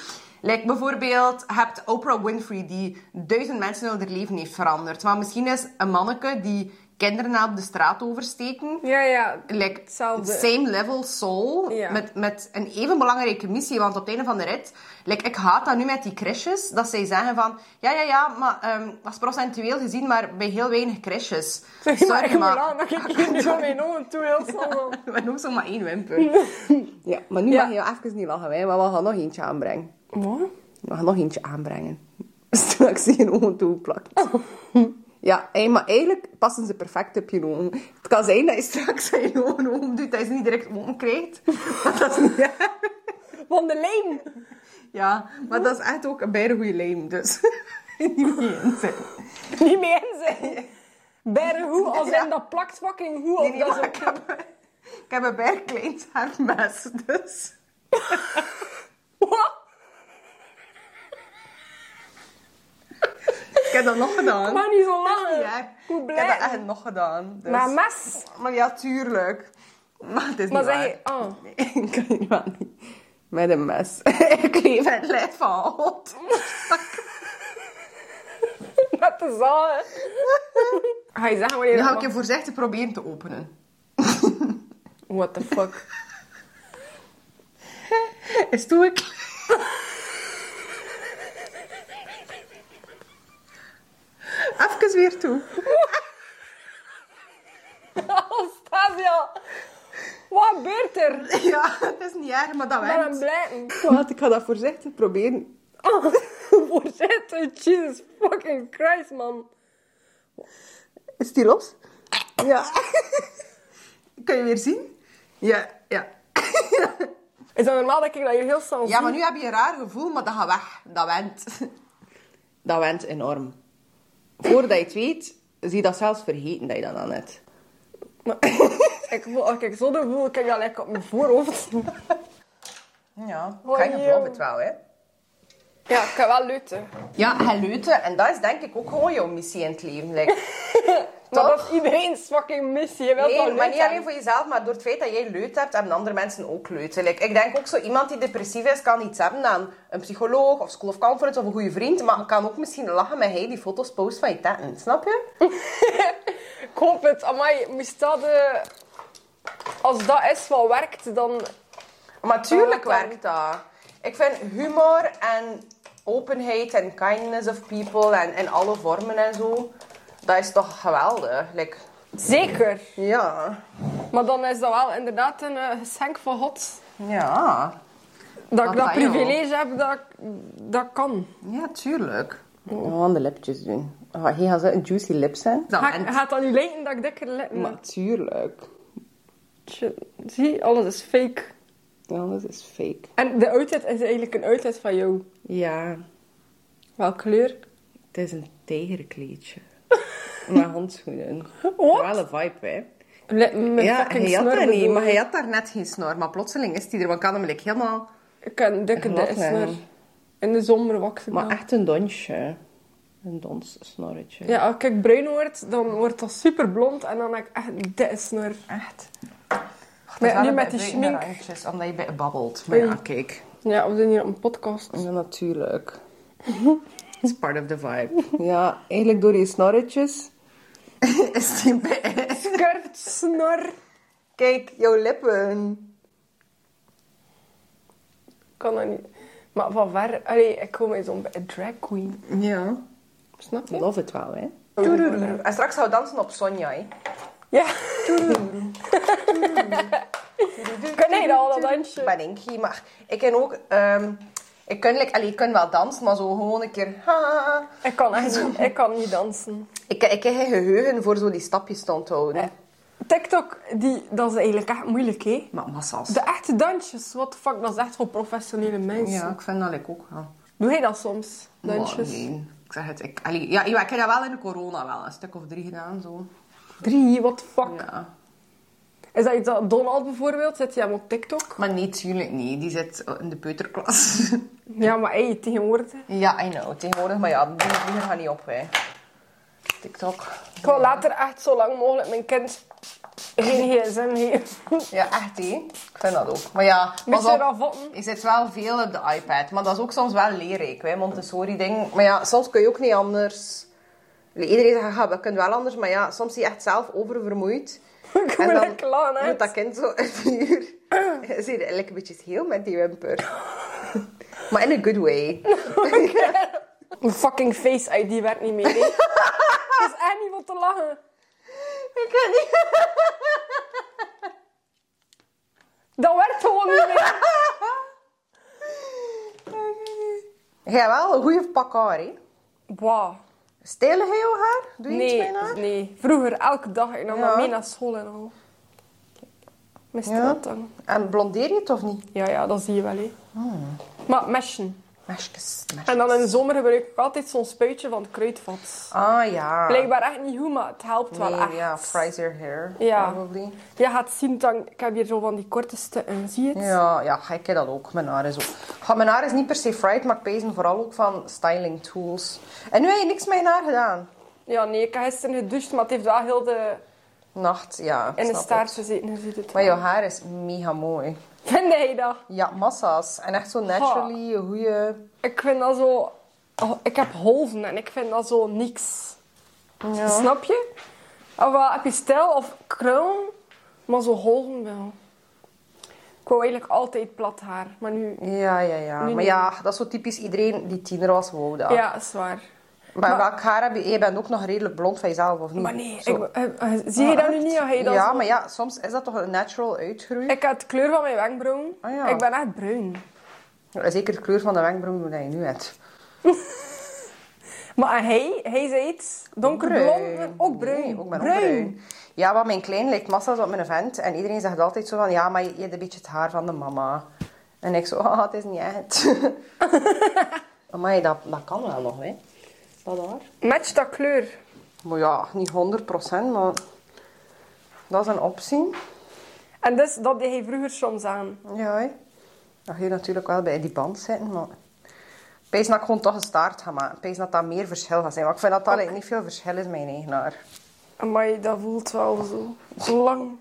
B: Like bijvoorbeeld, je hebt Oprah Winfrey die duizend mensen in haar leven heeft veranderd. Maar misschien is een manneke die kinderen na op de straat oversteken...
A: Ja, ja.
B: Like,
A: Hetzelfde.
B: same level soul,
A: Ja.
B: met, met een even belangrijke missie. Want op het einde van de rit, like, ik haat dat nu met die crashes, dat zij zeggen van... Ja, ja, ja, maar ehm, dat is procentueel gezien, maar bij heel weinig crashes.
A: Zeg [LAUGHS] maar, ik moet lachen dat
B: [LAUGHS]
A: ik hier nu van mijn ogen toe heel snel zo.
B: Maar ook zomaar één wimper.
A: [LAUGHS]
B: ja, maar nu
A: Ja.
B: mag je wel even niet lachen, hè, maar we gaan nog eentje aanbrengen.
A: Wat?
B: We gaan nog eentje aanbrengen. [LAUGHS] Dus Straks zie je een ogen toeplakt.
A: Oh.
B: Ja, hé, maar eigenlijk passen ze perfect op je ogen. Het kan zijn dat je straks aan je ogen open doet, dat je ze niet direct open krijgt. [LAUGHS] Maar dat is niet erg.
A: Van de lijm.
B: Ja, maar dat is echt ook een bijna goede lijm, dus... [LAUGHS] niet meer inzetten.
A: Niet meer in zijn. Bijna hoe, als in
B: Ja.
A: dat plakt fucking hoe.
B: Nee,
A: of
B: nee,
A: dat
B: maar
A: zo-
B: ik heb, ik heb een bijna klein mes, dus... [LAUGHS]
A: [LAUGHS] Wat?
B: Ik heb dat nog gedaan.
A: Maar niet zo
B: Dat is
A: lang.
B: niet waar.
A: Hoe
B: Ik heb
A: blij.
B: dat echt nog gedaan. Dus.
A: Maar mes.
B: Maar ja, tuurlijk. Maar het is
A: Maar
B: niet
A: zeg
B: waar.
A: je... ah.
B: Nee, [LAUGHS] ik kan niet maar niet. Met een mes. [LAUGHS] ik leef het lijf
A: [LAUGHS]
B: van God.
A: Met de zaal. Ga je zeggen wanneer...
B: Nu ga
A: dat
B: ik je
A: nog-
B: voorzichtig proberen te openen. [LAUGHS]
A: What the fuck?
B: Is toen ik... [LAUGHS] Even weer toe. [LAUGHS]
A: Anastasia. Oh, Wat gebeurt er?
B: Ja, het is niet erg, maar dat
A: Ik ben aan het
B: werkt.
A: blijten.
B: Wat, ik ga dat voorzichtig proberen.
A: Ah, [LAUGHS] Voorzitter, Jesus fucking Christ, man.
B: Is die los? Ja. [LAUGHS] kan je weer zien? Ja, [LAUGHS] ja.
A: Is dat normaal dat ik dat hier heel snel
B: Ja,
A: zie?
B: maar nu heb je een raar gevoel, maar dat gaat weg. Dat went. [LAUGHS] Dat went enorm. Voordat je het weet, zie je dat zelfs vergeten dat je dat aan hebt.
A: Maar- [LAUGHS] ik voel, als ik zo doe, voel ik dat lekker op mijn voorhoofd.
B: Ja,
A: Hoi,
B: kan je
A: joh.
B: geloof het wel, hè?
A: Ja, ik kan wel leuten.
B: Ja, en leuten. En dat is denk ik ook gewoon jouw missie in het leven. Like,
A: Maar
B: Toch?
A: dat is iedereen's fucking missie. Je wilt
B: nee,
A: dat
B: maar
A: leuk
B: niet
A: zijn.
B: alleen voor jezelf, maar door het feit dat jij leut hebt, hebben andere mensen ook leuten. Like, ik denk ook zo, iemand die depressief is, kan iets hebben aan een psycholoog of school of conference of een goede vriend, maar kan ook misschien lachen met hij die foto's post van je tetten. Snap je?
A: Ik hoop het. Amai, moest dat... eh, Als dat is wat werkt, dan...
B: Maar tuurlijk
A: Oh, dat
B: werkt dat. Ik vind humor en openheid en kindness of people en in alle vormen en zo, dat is toch geweldig. Like,
A: Zeker.
B: ja.
A: Maar dan is dat wel inderdaad een eh, geschenk van God.
B: Ja.
A: Dat
B: Wat
A: ik dat
B: Ah, fijn, joh.
A: privilege heb, dat, ik- dat kan.
B: Ja, tuurlijk. We gaan de lipjes doen. Oh, hier gaan ze een juicy lips zijn.
A: Ga, gaat dat nu lijken dat ik dikker lippen heb?
B: Natuurlijk.
A: Tje, Zie, alles is fake.
B: Alles is fake.
A: En de outfit is eigenlijk een outfit van jou.
B: Ja,
A: Welke kleur?
B: het is een [LAUGHS] tijgerkleedje. Met handschoenen.
A: Wat?
B: Wel een vibe, hè.
A: Lippen met
B: Ja,
A: fucking
B: hij had
A: snor
B: dat niet,
A: erdoor.
B: maar hij had daar net geen snor. Maar plotseling is hij er, want ik kan hem like, helemaal...
A: Ik kan dikke
B: Glad
A: de snor.
B: leggen.
A: In de zomer waksen.
B: Maar echt een donsje. Een donssnorretje.
A: Ja, als ik bruin word, dan wordt dat super blond en dan heb ik echt een dikke snor.
B: Echt.
A: Maar nu met die schmink.
B: Omdat je bij babbelt. Maar ja, kijk.
A: Ja, we zijn hier op een podcast.
B: Ja, natuurlijk. [LAUGHS] It's part of the vibe. Ja, eigenlijk door die snorretjes. [LAUGHS] Is die bij...
A: Curved snor.
B: Kijk, jouw lippen.
A: Kan dat niet. Maar van ver... Allee, ik kom eens om bij een drag queen.
B: Ja.
A: Snap je?
B: Love het wel, hè. En straks zou dansen op Sonja, hè.
A: Ja. Kan jij dat al, dat dansje?
B: Ben ik niet, maar ik kan ook... ehm, ik, kan, like, allee, ik kan wel dansen, maar zo gewoon een keer... ha.
A: Ik kan echt niet, ik kan niet dansen.
B: Ik, ik heb geen geheugen voor zo die stapjes te onthouden.
A: TikTok, die, dat is eigenlijk echt moeilijk, hè?
B: Maar massas.
A: De echte dansjes, what the fuck, dat is echt voor professionele mensen.
B: Ja, ik vind dat ik ook wel.
A: Doe jij dat soms?
B: Maar
A: Dansjes?
B: nee, ik zeg het. Ik, allee, ja, ja, ik heb dat wel in de corona wel een stuk of drie gedaan, zo.
A: Drie, what the fuck.
B: Ja.
A: Is dat iets dat Donald bijvoorbeeld, zet hij hem op TikTok?
B: Maar nee, tuurlijk niet. Die zit in de peuterklas. [LAUGHS]
A: Ja, maar hey, tegenwoordig.
B: ja, I know. Tegenwoordig, maar ja, die, die gaan niet op, hè. TikTok.
A: Ik wil later echt zo lang mogelijk mijn kind geen gsm [LAUGHS] geven.
B: Ja, echt, hé. Ik vind dat ook. Maar ja, pas
A: Beetje
B: op.
A: ravotten.
B: Je zit wel veel op de iPad, maar dat is ook soms wel leerrijk, hè, Montessori-ding. Maar ja, soms kun je ook niet anders. Iedereen zegt, ja, we kunnen wel anders, maar ja, soms zie je echt zelf oververmoeid.
A: [LAUGHS] Ik wil er klaar uit.
B: moet dat kind zo een uur... Zie je eigenlijk een beetje heel met die wimper. [LAUGHS] maar in a good way.
A: Mijn fucking face ID werkt niet meer. hè. [LAUGHS] Dat is echt niet wat te lachen.
B: Ik kan niet...
A: Dat werkt gewoon niet [LAUGHS] meer.
B: [LAUGHS] Jij wel een goede pak haar, hè?
A: Wow.
B: Stelen jij jouw haar? Doe je iets
A: Nee,
B: met je haar?
A: nee. Vroeger elke dag. Ik nam
B: Ja.
A: dat mee naar school en al. Mist
B: Ja.
A: dat dan?
B: En blondeer je het of niet? Oh.
A: Ja, ja, dat zie je wel, hè. Maar meshen.
B: Mesjes, mesjes.
A: En dan in de zomer gebruik ik altijd zo'n spuitje van het kruidvat.
B: Ah ja.
A: Blijkbaar echt niet goed, maar het helpt wel
B: Nee,
A: echt.
B: ja, fries your hair,
A: Ja.
B: probably.
A: Je gaat zien, dan, ik heb hier zo van die korte stukken, zie je het?
B: Ja, ja, ik heb dat ook. Mijn haar is ook. Goh, Mijn haar is niet per se fried, maar ik pezen vooral ook van styling tools. En nu heb je niks met je haar gedaan.
A: Ja, nee, ik heb gisteren gedoucht, maar het heeft wel heel de,
B: Nacht, ja.
A: in de
B: snap
A: staart
B: ik.
A: gezeten, je ziet het
B: Maar
A: wel.
B: jouw haar is mega mooi.
A: Vind jij dat?
B: Ja, massa's. En echt zo naturally, een goeie...
A: Ik vind dat zo... oh, ik heb holven en ik vind dat zo niks. Snap je? Of wel, heb je stijl of krul, maar zo holven wel. Ik wou eigenlijk altijd plat haar, maar nu...
B: Ja, ja, ja.
A: Nu
B: maar
A: niet.
B: ja, dat is zo typisch iedereen die tiener was, wou dat.
A: Ja, is waar.
B: Maar,
A: Maar-
B: welk haar heb je? Je bent ook nog redelijk blond van jezelf, of niet?
A: Maar nee,
B: Zo.
A: ik- eh, eh, zie je dat nu niet? Of heb je dat
B: ja,
A: zo?
B: maar ja, soms is dat toch een natural uitgroei.
A: Ik had de kleur van mijn wenkbrauw.
B: Ah, ja.
A: Ik ben echt bruin.
B: Zeker de kleur van de wenkbrauwen die je nu hebt.
A: Maar hij, hij is iets donkerblond, maar ook bruin.
B: Nee, ik ben ook bruin. Ja, want mijn klein lijkt massa's op mijn vent. En iedereen zegt altijd zo van, ja, maar je, je hebt een beetje het haar van de mama. En ik zo, [LAUGHS] ah, het is niet echt.
A: [LAUGHS]
B: Amai, dat, dat kan wel nog, hè. Dat haar.
A: Match dat kleur.
B: Maar ja, niet 100 maar dat is een optie.
A: En dus, dat deed hij vroeger soms aan.
B: Ja, hè. Dan ga je natuurlijk wel bij die band zitten, maar... Pees dat ik gewoon toch een staart ga maken. Pees dat dat meer verschil gaat zijn. Want ik vind dat dat eigenlijk niet veel verschil is met mijn eigen haar.
A: Maar dat voelt wel zo, zo lang.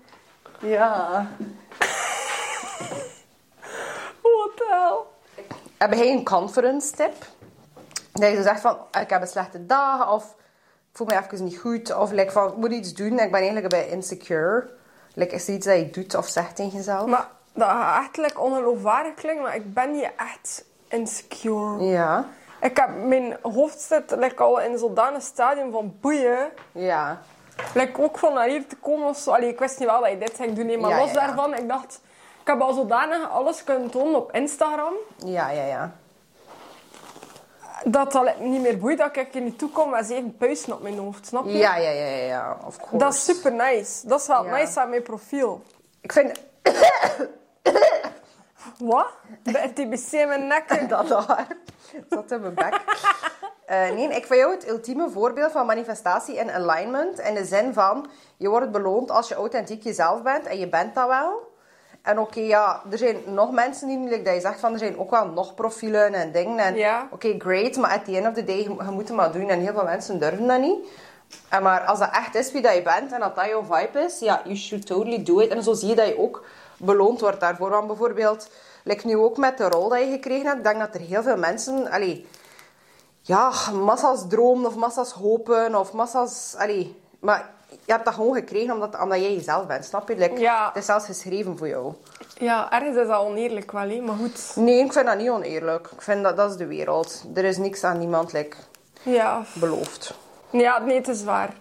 B: Ja.
A: What the hell?
B: Heb jij een conference tip? Dat je zo zegt van, "Ah, ik heb een slechte dag, of ik voel me even niet goed, of like van, ik moet iets doen, ik ben eigenlijk bij insecure. Like, is er iets dat je doet of zegt tegen jezelf?
A: Maar dat gaat echt like, ongeloofwaardig klinken, maar ik ben niet echt insecure.
B: Ja,
A: Ik heb mijn hoofd zit like, al in zodanig stadium van boeien.
B: ja.
A: Like, ook van naar hier te komen of zo. Allee, ik wist niet wel dat je dit ging doen, nee, maar
B: Ja,
A: los
B: ja, ja.
A: daarvan, ik dacht... Ik heb al zodanig alles kunnen tonen op Instagram,
B: Ja, ja, ja.
A: dat dat like, niet meer boeit dat ik er niet toe kom met zeven puisten op mijn hoofd, snap je?
B: Ja, ja, ja, ja, ja. Of course.
A: Dat is super nice. Dat is wel
B: Ja.
A: nice aan mijn profiel.
B: Ik vind
A: Wat? Bij TBC in mijn nek.
B: dat [LAUGHS] daar. Zat in mijn bek. Eh, nee, ik vind jou het ultieme voorbeeld van manifestatie en alignment. In de zin van, je wordt beloond als je authentiek jezelf bent. En je bent dat wel. En oké, ja, er zijn nog mensen die, like dat je zegt van, er zijn ook wel nog profielen en dingen. En
A: Ja.
B: oké, great, maar at the end of the day, je, je moet het maar doen. En heel veel mensen durven dat niet. En maar als dat echt is wie dat je bent en dat dat jouw vibe is, ja, you should totally do it. En zo zie je dat je ook beloond wordt daarvoor. Want bijvoorbeeld, like nu ook met de rol dat je gekregen hebt, ik denk dat er heel veel mensen, allee, ja, massa's dromen of massa's hopen of massa's... Allee, maar je hebt dat gewoon gekregen omdat, omdat jij jezelf bent, snap je? Like,
A: Ja.
B: Het is zelfs geschreven voor jou.
A: Ja, ergens is dat oneerlijk wel, hè, maar goed.
B: Nee, ik vind dat niet oneerlijk. Ik vind dat, dat is de wereld. Er is niks aan niemand like,
A: Ja,
B: beloofd.
A: ja nee, het is waar.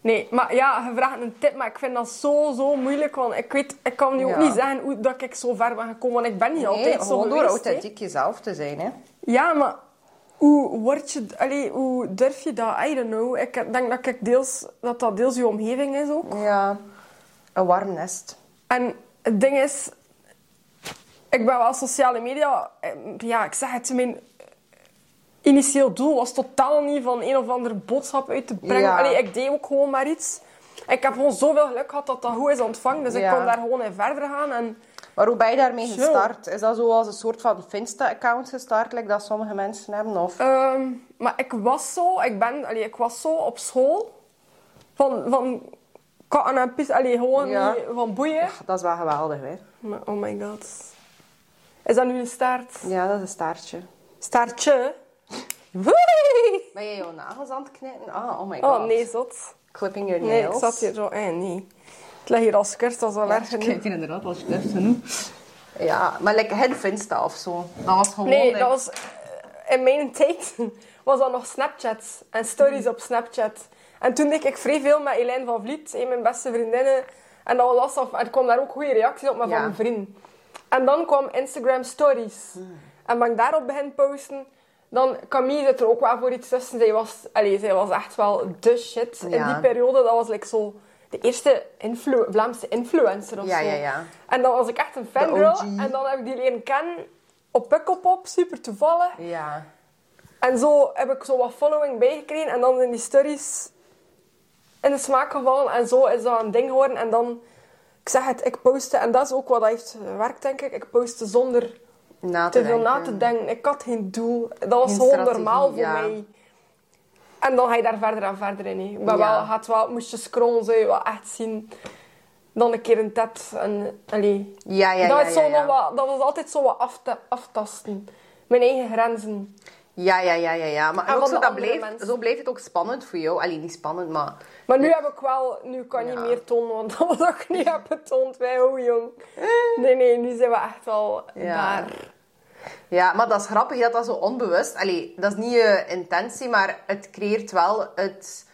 A: Nee, maar ja, je vraagt een tip, maar ik vind dat zo, zo moeilijk. Want ik weet, ik kan nu ook
B: Ja.
A: niet zeggen hoe dat ik zo ver ben gekomen, want ik ben niet
B: Nee,
A: altijd zo
B: gewoon door
A: geweest,
B: authentiek jezelf te zijn, hè.
A: hè. Ja, maar hoe word je, allee, hoe durf je dat? I don't know. Ik denk dat ik deels, dat, dat deels je omgeving is ook.
B: Ja, een warm nest.
A: En het ding is, ik ben wel sociale media. eh, Ja, ik zeg het, mijn initieel doel was totaal niet van een of andere boodschap uit te brengen.
B: Ja.
A: Allee, ik deed ook gewoon maar iets. Ik heb gewoon zoveel geluk gehad dat dat goed is ontvangen. Dus
B: Ja.
A: ik kon daar gewoon in verder gaan. En
B: Maar hoe ben je daarmee
A: Zo.
B: gestart? Is dat zo als een soort van Finsta-account gestart, like dat sommige mensen hebben? Of...
A: Ehm, maar ik was zo, ik ben, allee, ik was zo op school. Van, van katten en pis, allee, gewoon
B: Ja.
A: niet van boeien.
B: Dat is wel geweldig, hè.
A: Maar, oh my god. Is dat nu een staart?
B: Ja, dat is een staartje.
A: Staartje? Woei!
B: Ben je jouw nagels aan het knijpen? Ah, oh my god.
A: Oh nee, zot.
B: Clipping your
A: Nee,
B: nails.
A: ik zat hier zo. Eh, nee. Het lag hier als kurt, dat is al erg genoeg.
B: hier inderdaad als je durft genoeg. Ja, maar like, het Finsta of zo. Dat was gewoon...
A: Nee,
B: like-
A: dat was. eh, In mijn tijd [LAUGHS] was dat nog Snapchat en stories op Snapchat. En toen deed ik vrij veel met Elijn van Vliet, een van mijn beste vriendinnen. En dat was af. Er kwam daar ook goede reacties op, maar
B: Ja.
A: van mijn vriend. En dan kwam Instagram Stories.
B: Hmm.
A: En ben ik daarop begin posten. Dan, Camille zit er ook wel voor iets tussen. Zij was, allee, zij was echt wel de shit in
B: Ja.
A: die periode. Dat was like zo de eerste influ- Vlaamse influencer of
B: Ja,
A: zo.
B: ja, ja.
A: En dan was ik echt een fan
B: De
A: girl.
B: OG.
A: En dan heb ik die leren kennen. op Pukkelpop, super toevallig.
B: Ja.
A: En zo heb ik zo wat following bijgekregen. En dan zijn die stories in de smaak gevallen. En zo is dat een ding geworden. En dan, ik zeg het, ik postte. En dat is ook wat dat heeft gewerkt, denk ik. Ik postte zonder
B: Na te,
A: te veel na
B: denken.
A: te denken. Ik had geen doel. Dat was
B: Geen
A: gewoon
B: strategie,
A: normaal voor
B: ja.
A: mij. En dan ga je daar verder en verder in. hè. Maar
B: Ja.
A: wel, gaat wel, moest je scrollen, zou je wel echt zien. Dan een keer een tet. En, allee.
B: Ja, ja,
A: dat,
B: ja,
A: is
B: ja,
A: zo
B: ja.
A: nog wat- dat was altijd zo wat afta- aftasten. Mijn eigen grenzen.
B: Ja, ja, ja, ja, ja. Maar
A: En
B: ook
A: van
B: zo,
A: de
B: dat
A: andere
B: bleef,
A: mensen.
B: zo bleef het ook spannend voor jou. Allee, niet spannend, maar...
A: Maar nu heb ik wel, nu kan je
B: Ja.
A: niet meer tonen, want [LAUGHS] dat was ook
B: [LAUGHS]
A: niet heb getoond bij hoe jong. Nee, nee, nu zijn we echt wel
B: Eh. Ja.
A: daar.
B: Ja, maar dat is grappig dat dat zo onbewust... Allee, dat is niet je intentie, maar het creëert wel het...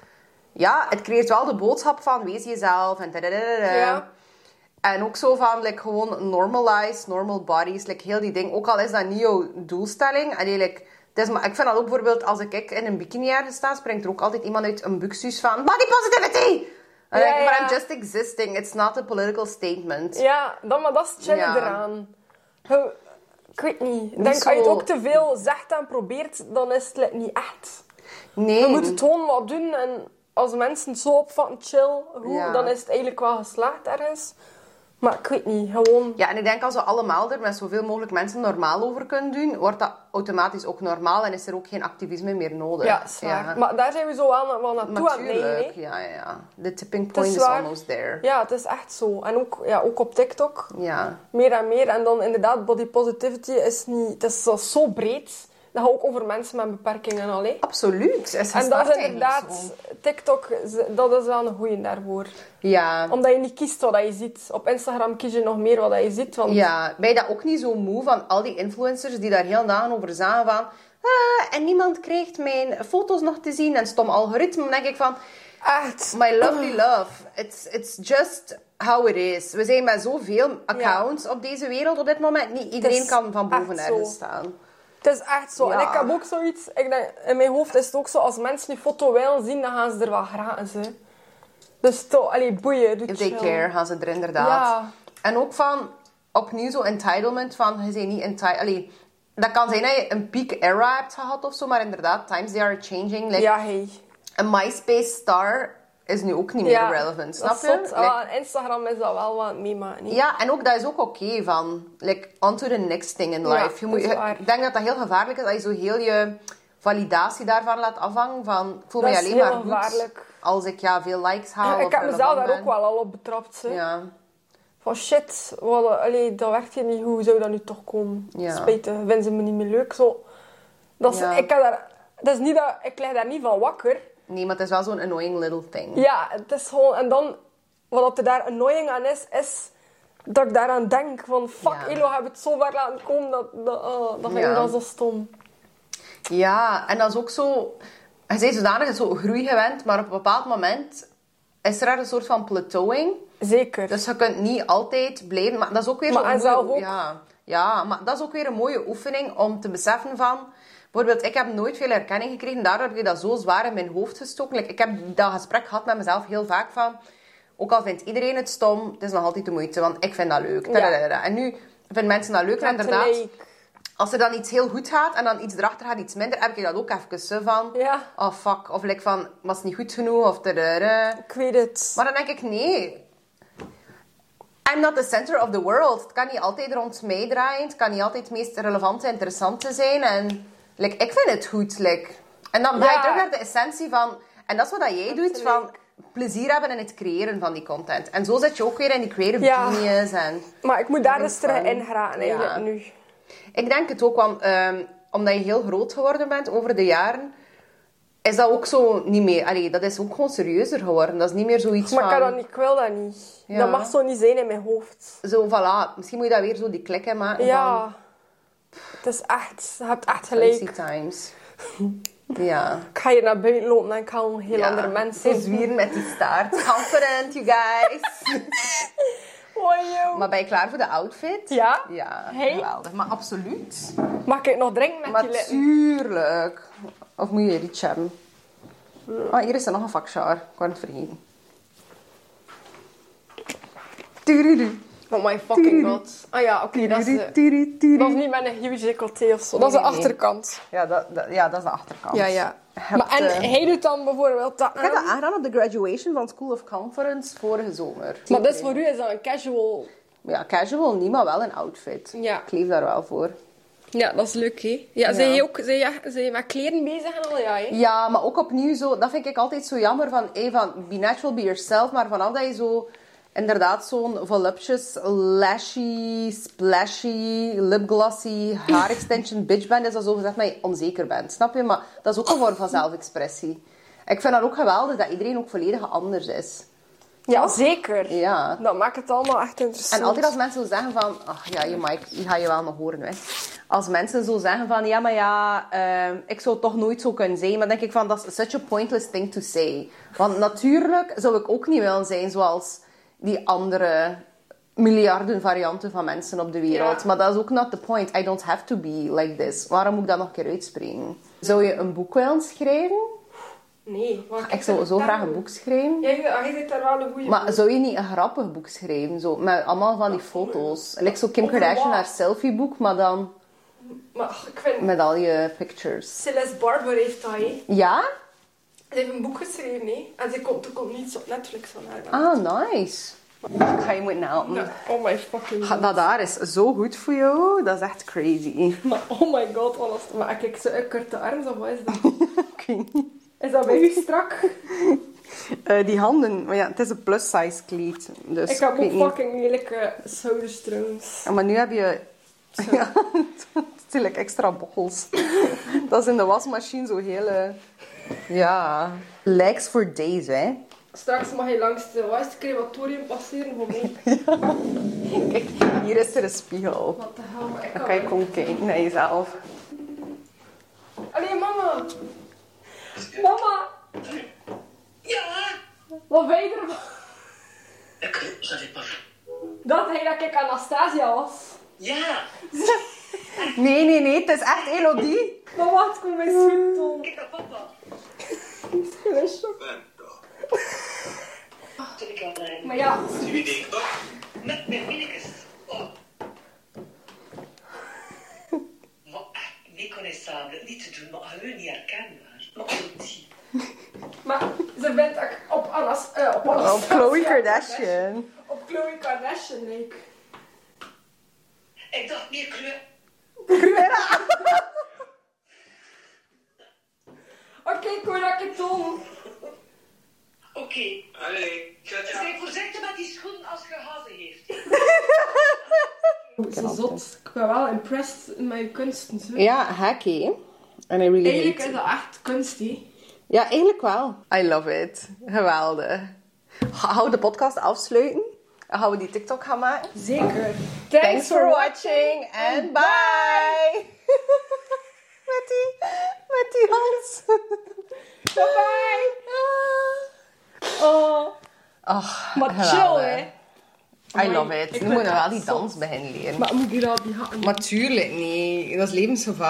B: Ja, het creëert wel de boodschap van wees jezelf en tadadadada.
A: Ja.
B: En ook zo van, like, gewoon normalize, normal bodies, like, heel die ding. Ook al is dat niet jouw doelstelling. Allee, like, het is, maar ik vind dat ook bijvoorbeeld, als ik ik in een bikini ergens sta, springt er ook altijd iemand uit een buxus van, body positivity! Dan
A: Ja,
B: denk ik, but
A: ja.
B: I'm just existing, it's not a political statement.
A: Ja, dan, maar dat is het chille
B: Ja.
A: eraan. Je- ik weet niet. Ik denk,
B: zo-
A: als je het ook te veel zegt en probeert, dan is het like niet echt.
B: Nee.
A: Je moet
B: Mm.
A: het gewoon wat doen en als mensen het zo opvatten, chill, hoe,
B: Ja.
A: dan is het eigenlijk wel geslaagd ergens. Maar ik weet niet, gewoon...
B: Ja, en ik denk als we allemaal er met zoveel mogelijk mensen normaal over kunnen doen, wordt dat automatisch ook normaal en is er ook geen activisme meer nodig.
A: Ja, zwaar.
B: Ja.
A: Maar daar zijn we zo wel, wel naartoe aan het neigen,
B: Natuurlijk,
A: hè.
B: ja, ja, ja. The tipping point is,
A: zwaar.
B: almost there.
A: Ja, het is echt zo. En ook, ja, ook op TikTok.
B: Ja.
A: meer en meer. En dan inderdaad, body positivity is niet... Het is zo- zo breed. Dat gaat ook over mensen met beperkingen al, hè.
B: Absoluut. Is
A: En dat
B: gestart
A: is
B: eigenlijk
A: inderdaad...
B: zo.
A: TikTok, ze- dat is wel een goeie daarvoor.
B: Ja.
A: Omdat je niet kiest wat je ziet. Op Instagram kies je nog meer wat je ziet. Want
B: ja. Ben je dat ook niet zo moe van al die influencers die daar heel dagen over zagen van... "Ah, en niemand krijgt mijn foto's nog te zien en stom algoritme. Dan denk ik van...
A: echt...
B: My lovely
A: Ah.
B: love, it's, it's just how it is. We zijn met zoveel accounts op deze wereld op dit moment. Niet iedereen
A: is
B: kan van boven
A: echt
B: ergens
A: zo.
B: staan.
A: Het is echt zo. En
B: Ja.
A: ik heb ook zoiets... Ik denk, in mijn hoofd is het ook zo, als mensen die foto willen zien, dan gaan ze er wel gratis, hè. Dus toch, allee, boeien, doe
B: If they
A: chill.
B: care, gaan ze er inderdaad.
A: Ja.
B: En ook van, opnieuw zo entitlement van, je bent niet entitled. Allee, dat kan zijn dat je een peak era hebt gehad of zo, maar inderdaad, times they are changing. Like,
A: Ja, hey.
B: Een MySpace star is nu ook niet meer relevant,
A: dat
B: snap
A: is
B: je?
A: zot.
B: Like,
A: Ah, en Instagram is dat wel wat meemaken, hè.
B: Ja, en ook dat is ook oké van, like, on to the next thing in
A: Ja,
B: life. je moet,
A: dat is waar.
B: ik denk dat dat heel gevaarlijk is, dat je zo heel je validatie daarvan laat afhangen. Van, ik voel
A: Dat
B: me
A: is
B: alleen
A: heel
B: maar goed
A: gevaarlijk.
B: als ik ja, veel likes haal.
A: ik
B: of
A: heb mezelf
B: relevant
A: daar ook
B: ben.
A: wel al op betrapt. hè.
B: Ja,
A: Van shit, wat, eh, allee, dat werkt hier niet. Hoe zou dat nu toch komen?
B: Ja.
A: Spijtig, vinden ze me niet meer leuk. Zo. Dat is,
B: Ja.
A: ik, heb daar, dat is niet dat, ik lig daar niet van wakker.
B: nee, maar het is wel zo'n annoying little thing.
A: Ja, het is gewoon... En dan, wat er daar annoying aan is, is dat ik daaraan denk van... Fuck,
B: Ja.
A: Elo, heb het zo ver laten komen. Dat, dat, ah, dat vind
B: Ja.
A: ik dan zo stom.
B: Ja, en dat is ook zo... Je bent zodanig zo groei gewend, maar op een bepaald moment is er daar een soort van plateauing.
A: Zeker.
B: Dus je kunt niet altijd blijven. Maar dat is ook weer
A: Maar
B: zo'n
A: en
B: mooie-
A: zelf ook.
B: Ja, ja, maar dat is ook weer een mooie oefening om te beseffen van... Bijvoorbeeld, ik heb nooit veel erkenning gekregen. Daardoor heb ik dat zo zwaar in mijn hoofd gestoken. Like, ik heb dat gesprek gehad met mezelf heel vaak van... Ook al vindt iedereen het stom, het is nog altijd de moeite, want ik vind dat leuk. Tadadadada. En nu vinden mensen dat leuk, maar inderdaad...
A: Tegelijk.
B: Als er dan iets heel goed gaat en dan iets erachter gaat, iets minder, heb ik dat ook even zo van...
A: Ja.
B: Oh, fuck. Of like van, was het niet goed genoeg, of... tadadada.
A: Ik weet het.
B: Maar dan denk ik, nee. I'm not the center of the world. Het kan niet altijd rond mij draaien. Het kan niet altijd het meest relevante en interessante zijn. En like, ik vind het goed. Like. En dan ben je
A: Ja.
B: terug naar de essentie van... En dat is wat dat jij doet, van
A: Natuurlijk.
B: plezier hebben in het creëren van die content. En zo zit je ook weer in die creative
A: Ja.
B: genius. En
A: Maar ik moet daar
B: Having
A: dus terug
B: fun.
A: in geraken eigenlijk
B: Ja.
A: nu.
B: ik denk het ook, want ehm, omdat je heel groot geworden bent over de jaren... Is dat ook zo niet meer... Allee, dat is ook gewoon serieuzer geworden. Dat is niet meer zoiets
A: Maar
B: van...
A: ik, kan dat niet, ik wil dat niet.
B: Ja.
A: Dat mag zo niet zijn in mijn hoofd.
B: Zo, voilà. Misschien moet je daar weer zo die klik in maken
A: Ja.
B: van
A: Het is echt... Je hebt echt
B: Fancy
A: gelijk.
B: Times. ja.
A: Ik ga hier naar buiten lopen en ik ga een heel
B: ja.
A: andere mens
B: Zo
A: zien.
B: zwieren met die
A: [LAUGHS]
B: staart. Confident, you guys.
A: Oh, joh.
B: maar ben je klaar voor de outfit?
A: Ja?
B: Ja,
A: Hey.
B: geweldig. Maar absoluut.
A: Mag ik nog drinken met die lippen?
B: Natuurlijk. Of moet je er iets hebben? Ah, hier is er nog een vakjaar. Ik wou het vergeten. Tududu.
A: Oh my fucking god. Ah ja, oké, dat is de- Dat is niet met een huge decolleté of zo. Dat is de
B: Nee, nee.
A: achterkant.
B: Ja, dat, dat- ja, dat is de achterkant.
A: Ja, ja.
B: Hebt,
A: Maar, en
B: eh,
A: hij doet dan bijvoorbeeld dat
B: Ik heb
A: aan.
B: dat aangedaan op de graduation van School of Conference vorige zomer.
A: Maar dat is voor u is dat een casual...
B: Ja, casual niet, maar wel een outfit.
A: Ja.
B: Ik leef daar wel voor.
A: Ja, dat is leuk, hè? Ja, zijn je ook zijn je, zijn je met kleren bezig en al, ja, hè?
B: Ja, maar ook opnieuw zo... Dat vind ik altijd zo jammer van... Hey, van be natural, be yourself. Maar vanaf dat je zo... Inderdaad, zo'n voluptuous, lashy, splashy, lipglossy, haar extension [LAUGHS] bitch bent... Is dat zo gezegd dat je onzeker bent. Snap je? Maar dat is ook een vorm van zelfexpressie. Ik vind dat ook geweldig dat iedereen ook volledig anders is.
A: Ja, zeker.
B: Ja.
A: Dat maakt het allemaal echt interessant.
B: En altijd als mensen zo zeggen van... Ach ja, je Mike, die ga je wel nog horen, hè. Als mensen zo zeggen van... Ja, maar ja, ehm, ik zou toch nooit zo kunnen zijn. Maar dan denk ik van, dat is such a pointless thing to say. Want natuurlijk zou ik ook niet willen zijn zoals die andere miljarden varianten van mensen op de wereld.
A: Ja.
B: Maar dat is ook not the point. I don't have to be like this. Waarom moet ik dat nog een keer uitspreken? Zou je een boek willen schrijven?
A: Nee, maar
B: Ik zou zo graag een boek schrijven.
A: Jij jij zit daar wel een goede
B: Maar zou je niet een grappig boek schrijven? Zo, met allemaal van die foto's. Like zo Kim Kardashian haar selfieboek, maar dan
A: ik vind...
B: met al je pictures.
A: Celeste Barber heeft dat, hè?
B: Ja?
A: Ze heeft een boek geschreven, hè? En ze komt, er komt niets op Netflix van haar.
B: Ah, nice. Ik ga je moeten helpen.
A: Ja, Oh my fucking
B: Ha, Dat daar is zo goed voor jou. Dat is echt crazy. [LAUGHS]
A: Maar oh my god, alles. Maar kijk, ze korte arm, of wat is dat?
B: [LAUGHS] Ik weet niet.
A: Is dat bij u strak?
B: Eh, die handen. Maar ja, het is een plus size kleed. Dus
A: ik heb
B: weet
A: ook
B: niet.
A: fucking lelijke shoulders trouwens.
B: Ja, Maar nu heb je... [LAUGHS] Ja, natuurlijk extra bochels. [LAUGHS] dat is in de wasmachine zo hele... Ja. Legs for days, hè.
A: Straks mag je langs de wat is het, crematorium passeren voor mij.
B: Kijk, hier is er een spiegel.
A: Wat de hel, maar ik
B: Dan kan je gewoon kijken naar jezelf.
A: Allee, mama! Mama! Ja? Wat ben je ervan?
C: Je oh, savais pas.
A: Dat hij dat ik Anastasia was.
C: Ja!
B: Nee, nee, nee, het is echt Elodie.
A: Mama, het komt mijn schietton.
C: Kijk naar papa. Ben toch. Oh, Toen ik al
A: Maar ja,
C: Nu denk ik toch? Met mijn minnekes. Oh. Maar eh, echt, niet connaissable. Niet te doen, maar gewoon niet herkenbaar. Maar goed.
A: maar ze bent ook op Anas... eh, op Anas.
B: Oh, Chloe Kardashian. [LAUGHS]
A: Op Chloe Kardashian, leek.
C: Ik dacht meer kleur.
A: Oké, ik hoor dat ik het doe.
C: Oké.
D: Allee, ciao.
C: Zijn voorzichtig met die schoenen als je hazen heeft.
A: Zo zot. Ik ben wel impressed met je kunsten. zo.
B: Ja, hacky. En I really hate
A: Eigenlijk
B: it.
A: is dat echt kunst, hè.
B: Ja, eigenlijk wel. I love it. Geweldig. Ga- Gaan we de podcast afsluiten? En gaan we die TikTok gaan maken?
A: Zeker.
B: Thanks for watching and bye! [LAUGHS] Met die, met die [LAUGHS] hals.
A: Bye-bye.
B: Ah.
A: Oh,
B: Ach,
A: maar
B: geweldig.
A: chill, hè.
B: I love it.
A: Ik
B: Nu
A: ben
B: moeten we wel
A: echt
B: die
A: zot.
B: dans beginnen leren.
A: Maar moet je dat op je hakken?
B: Maar tuurlijk niet. Dat is levensgevaarlijk.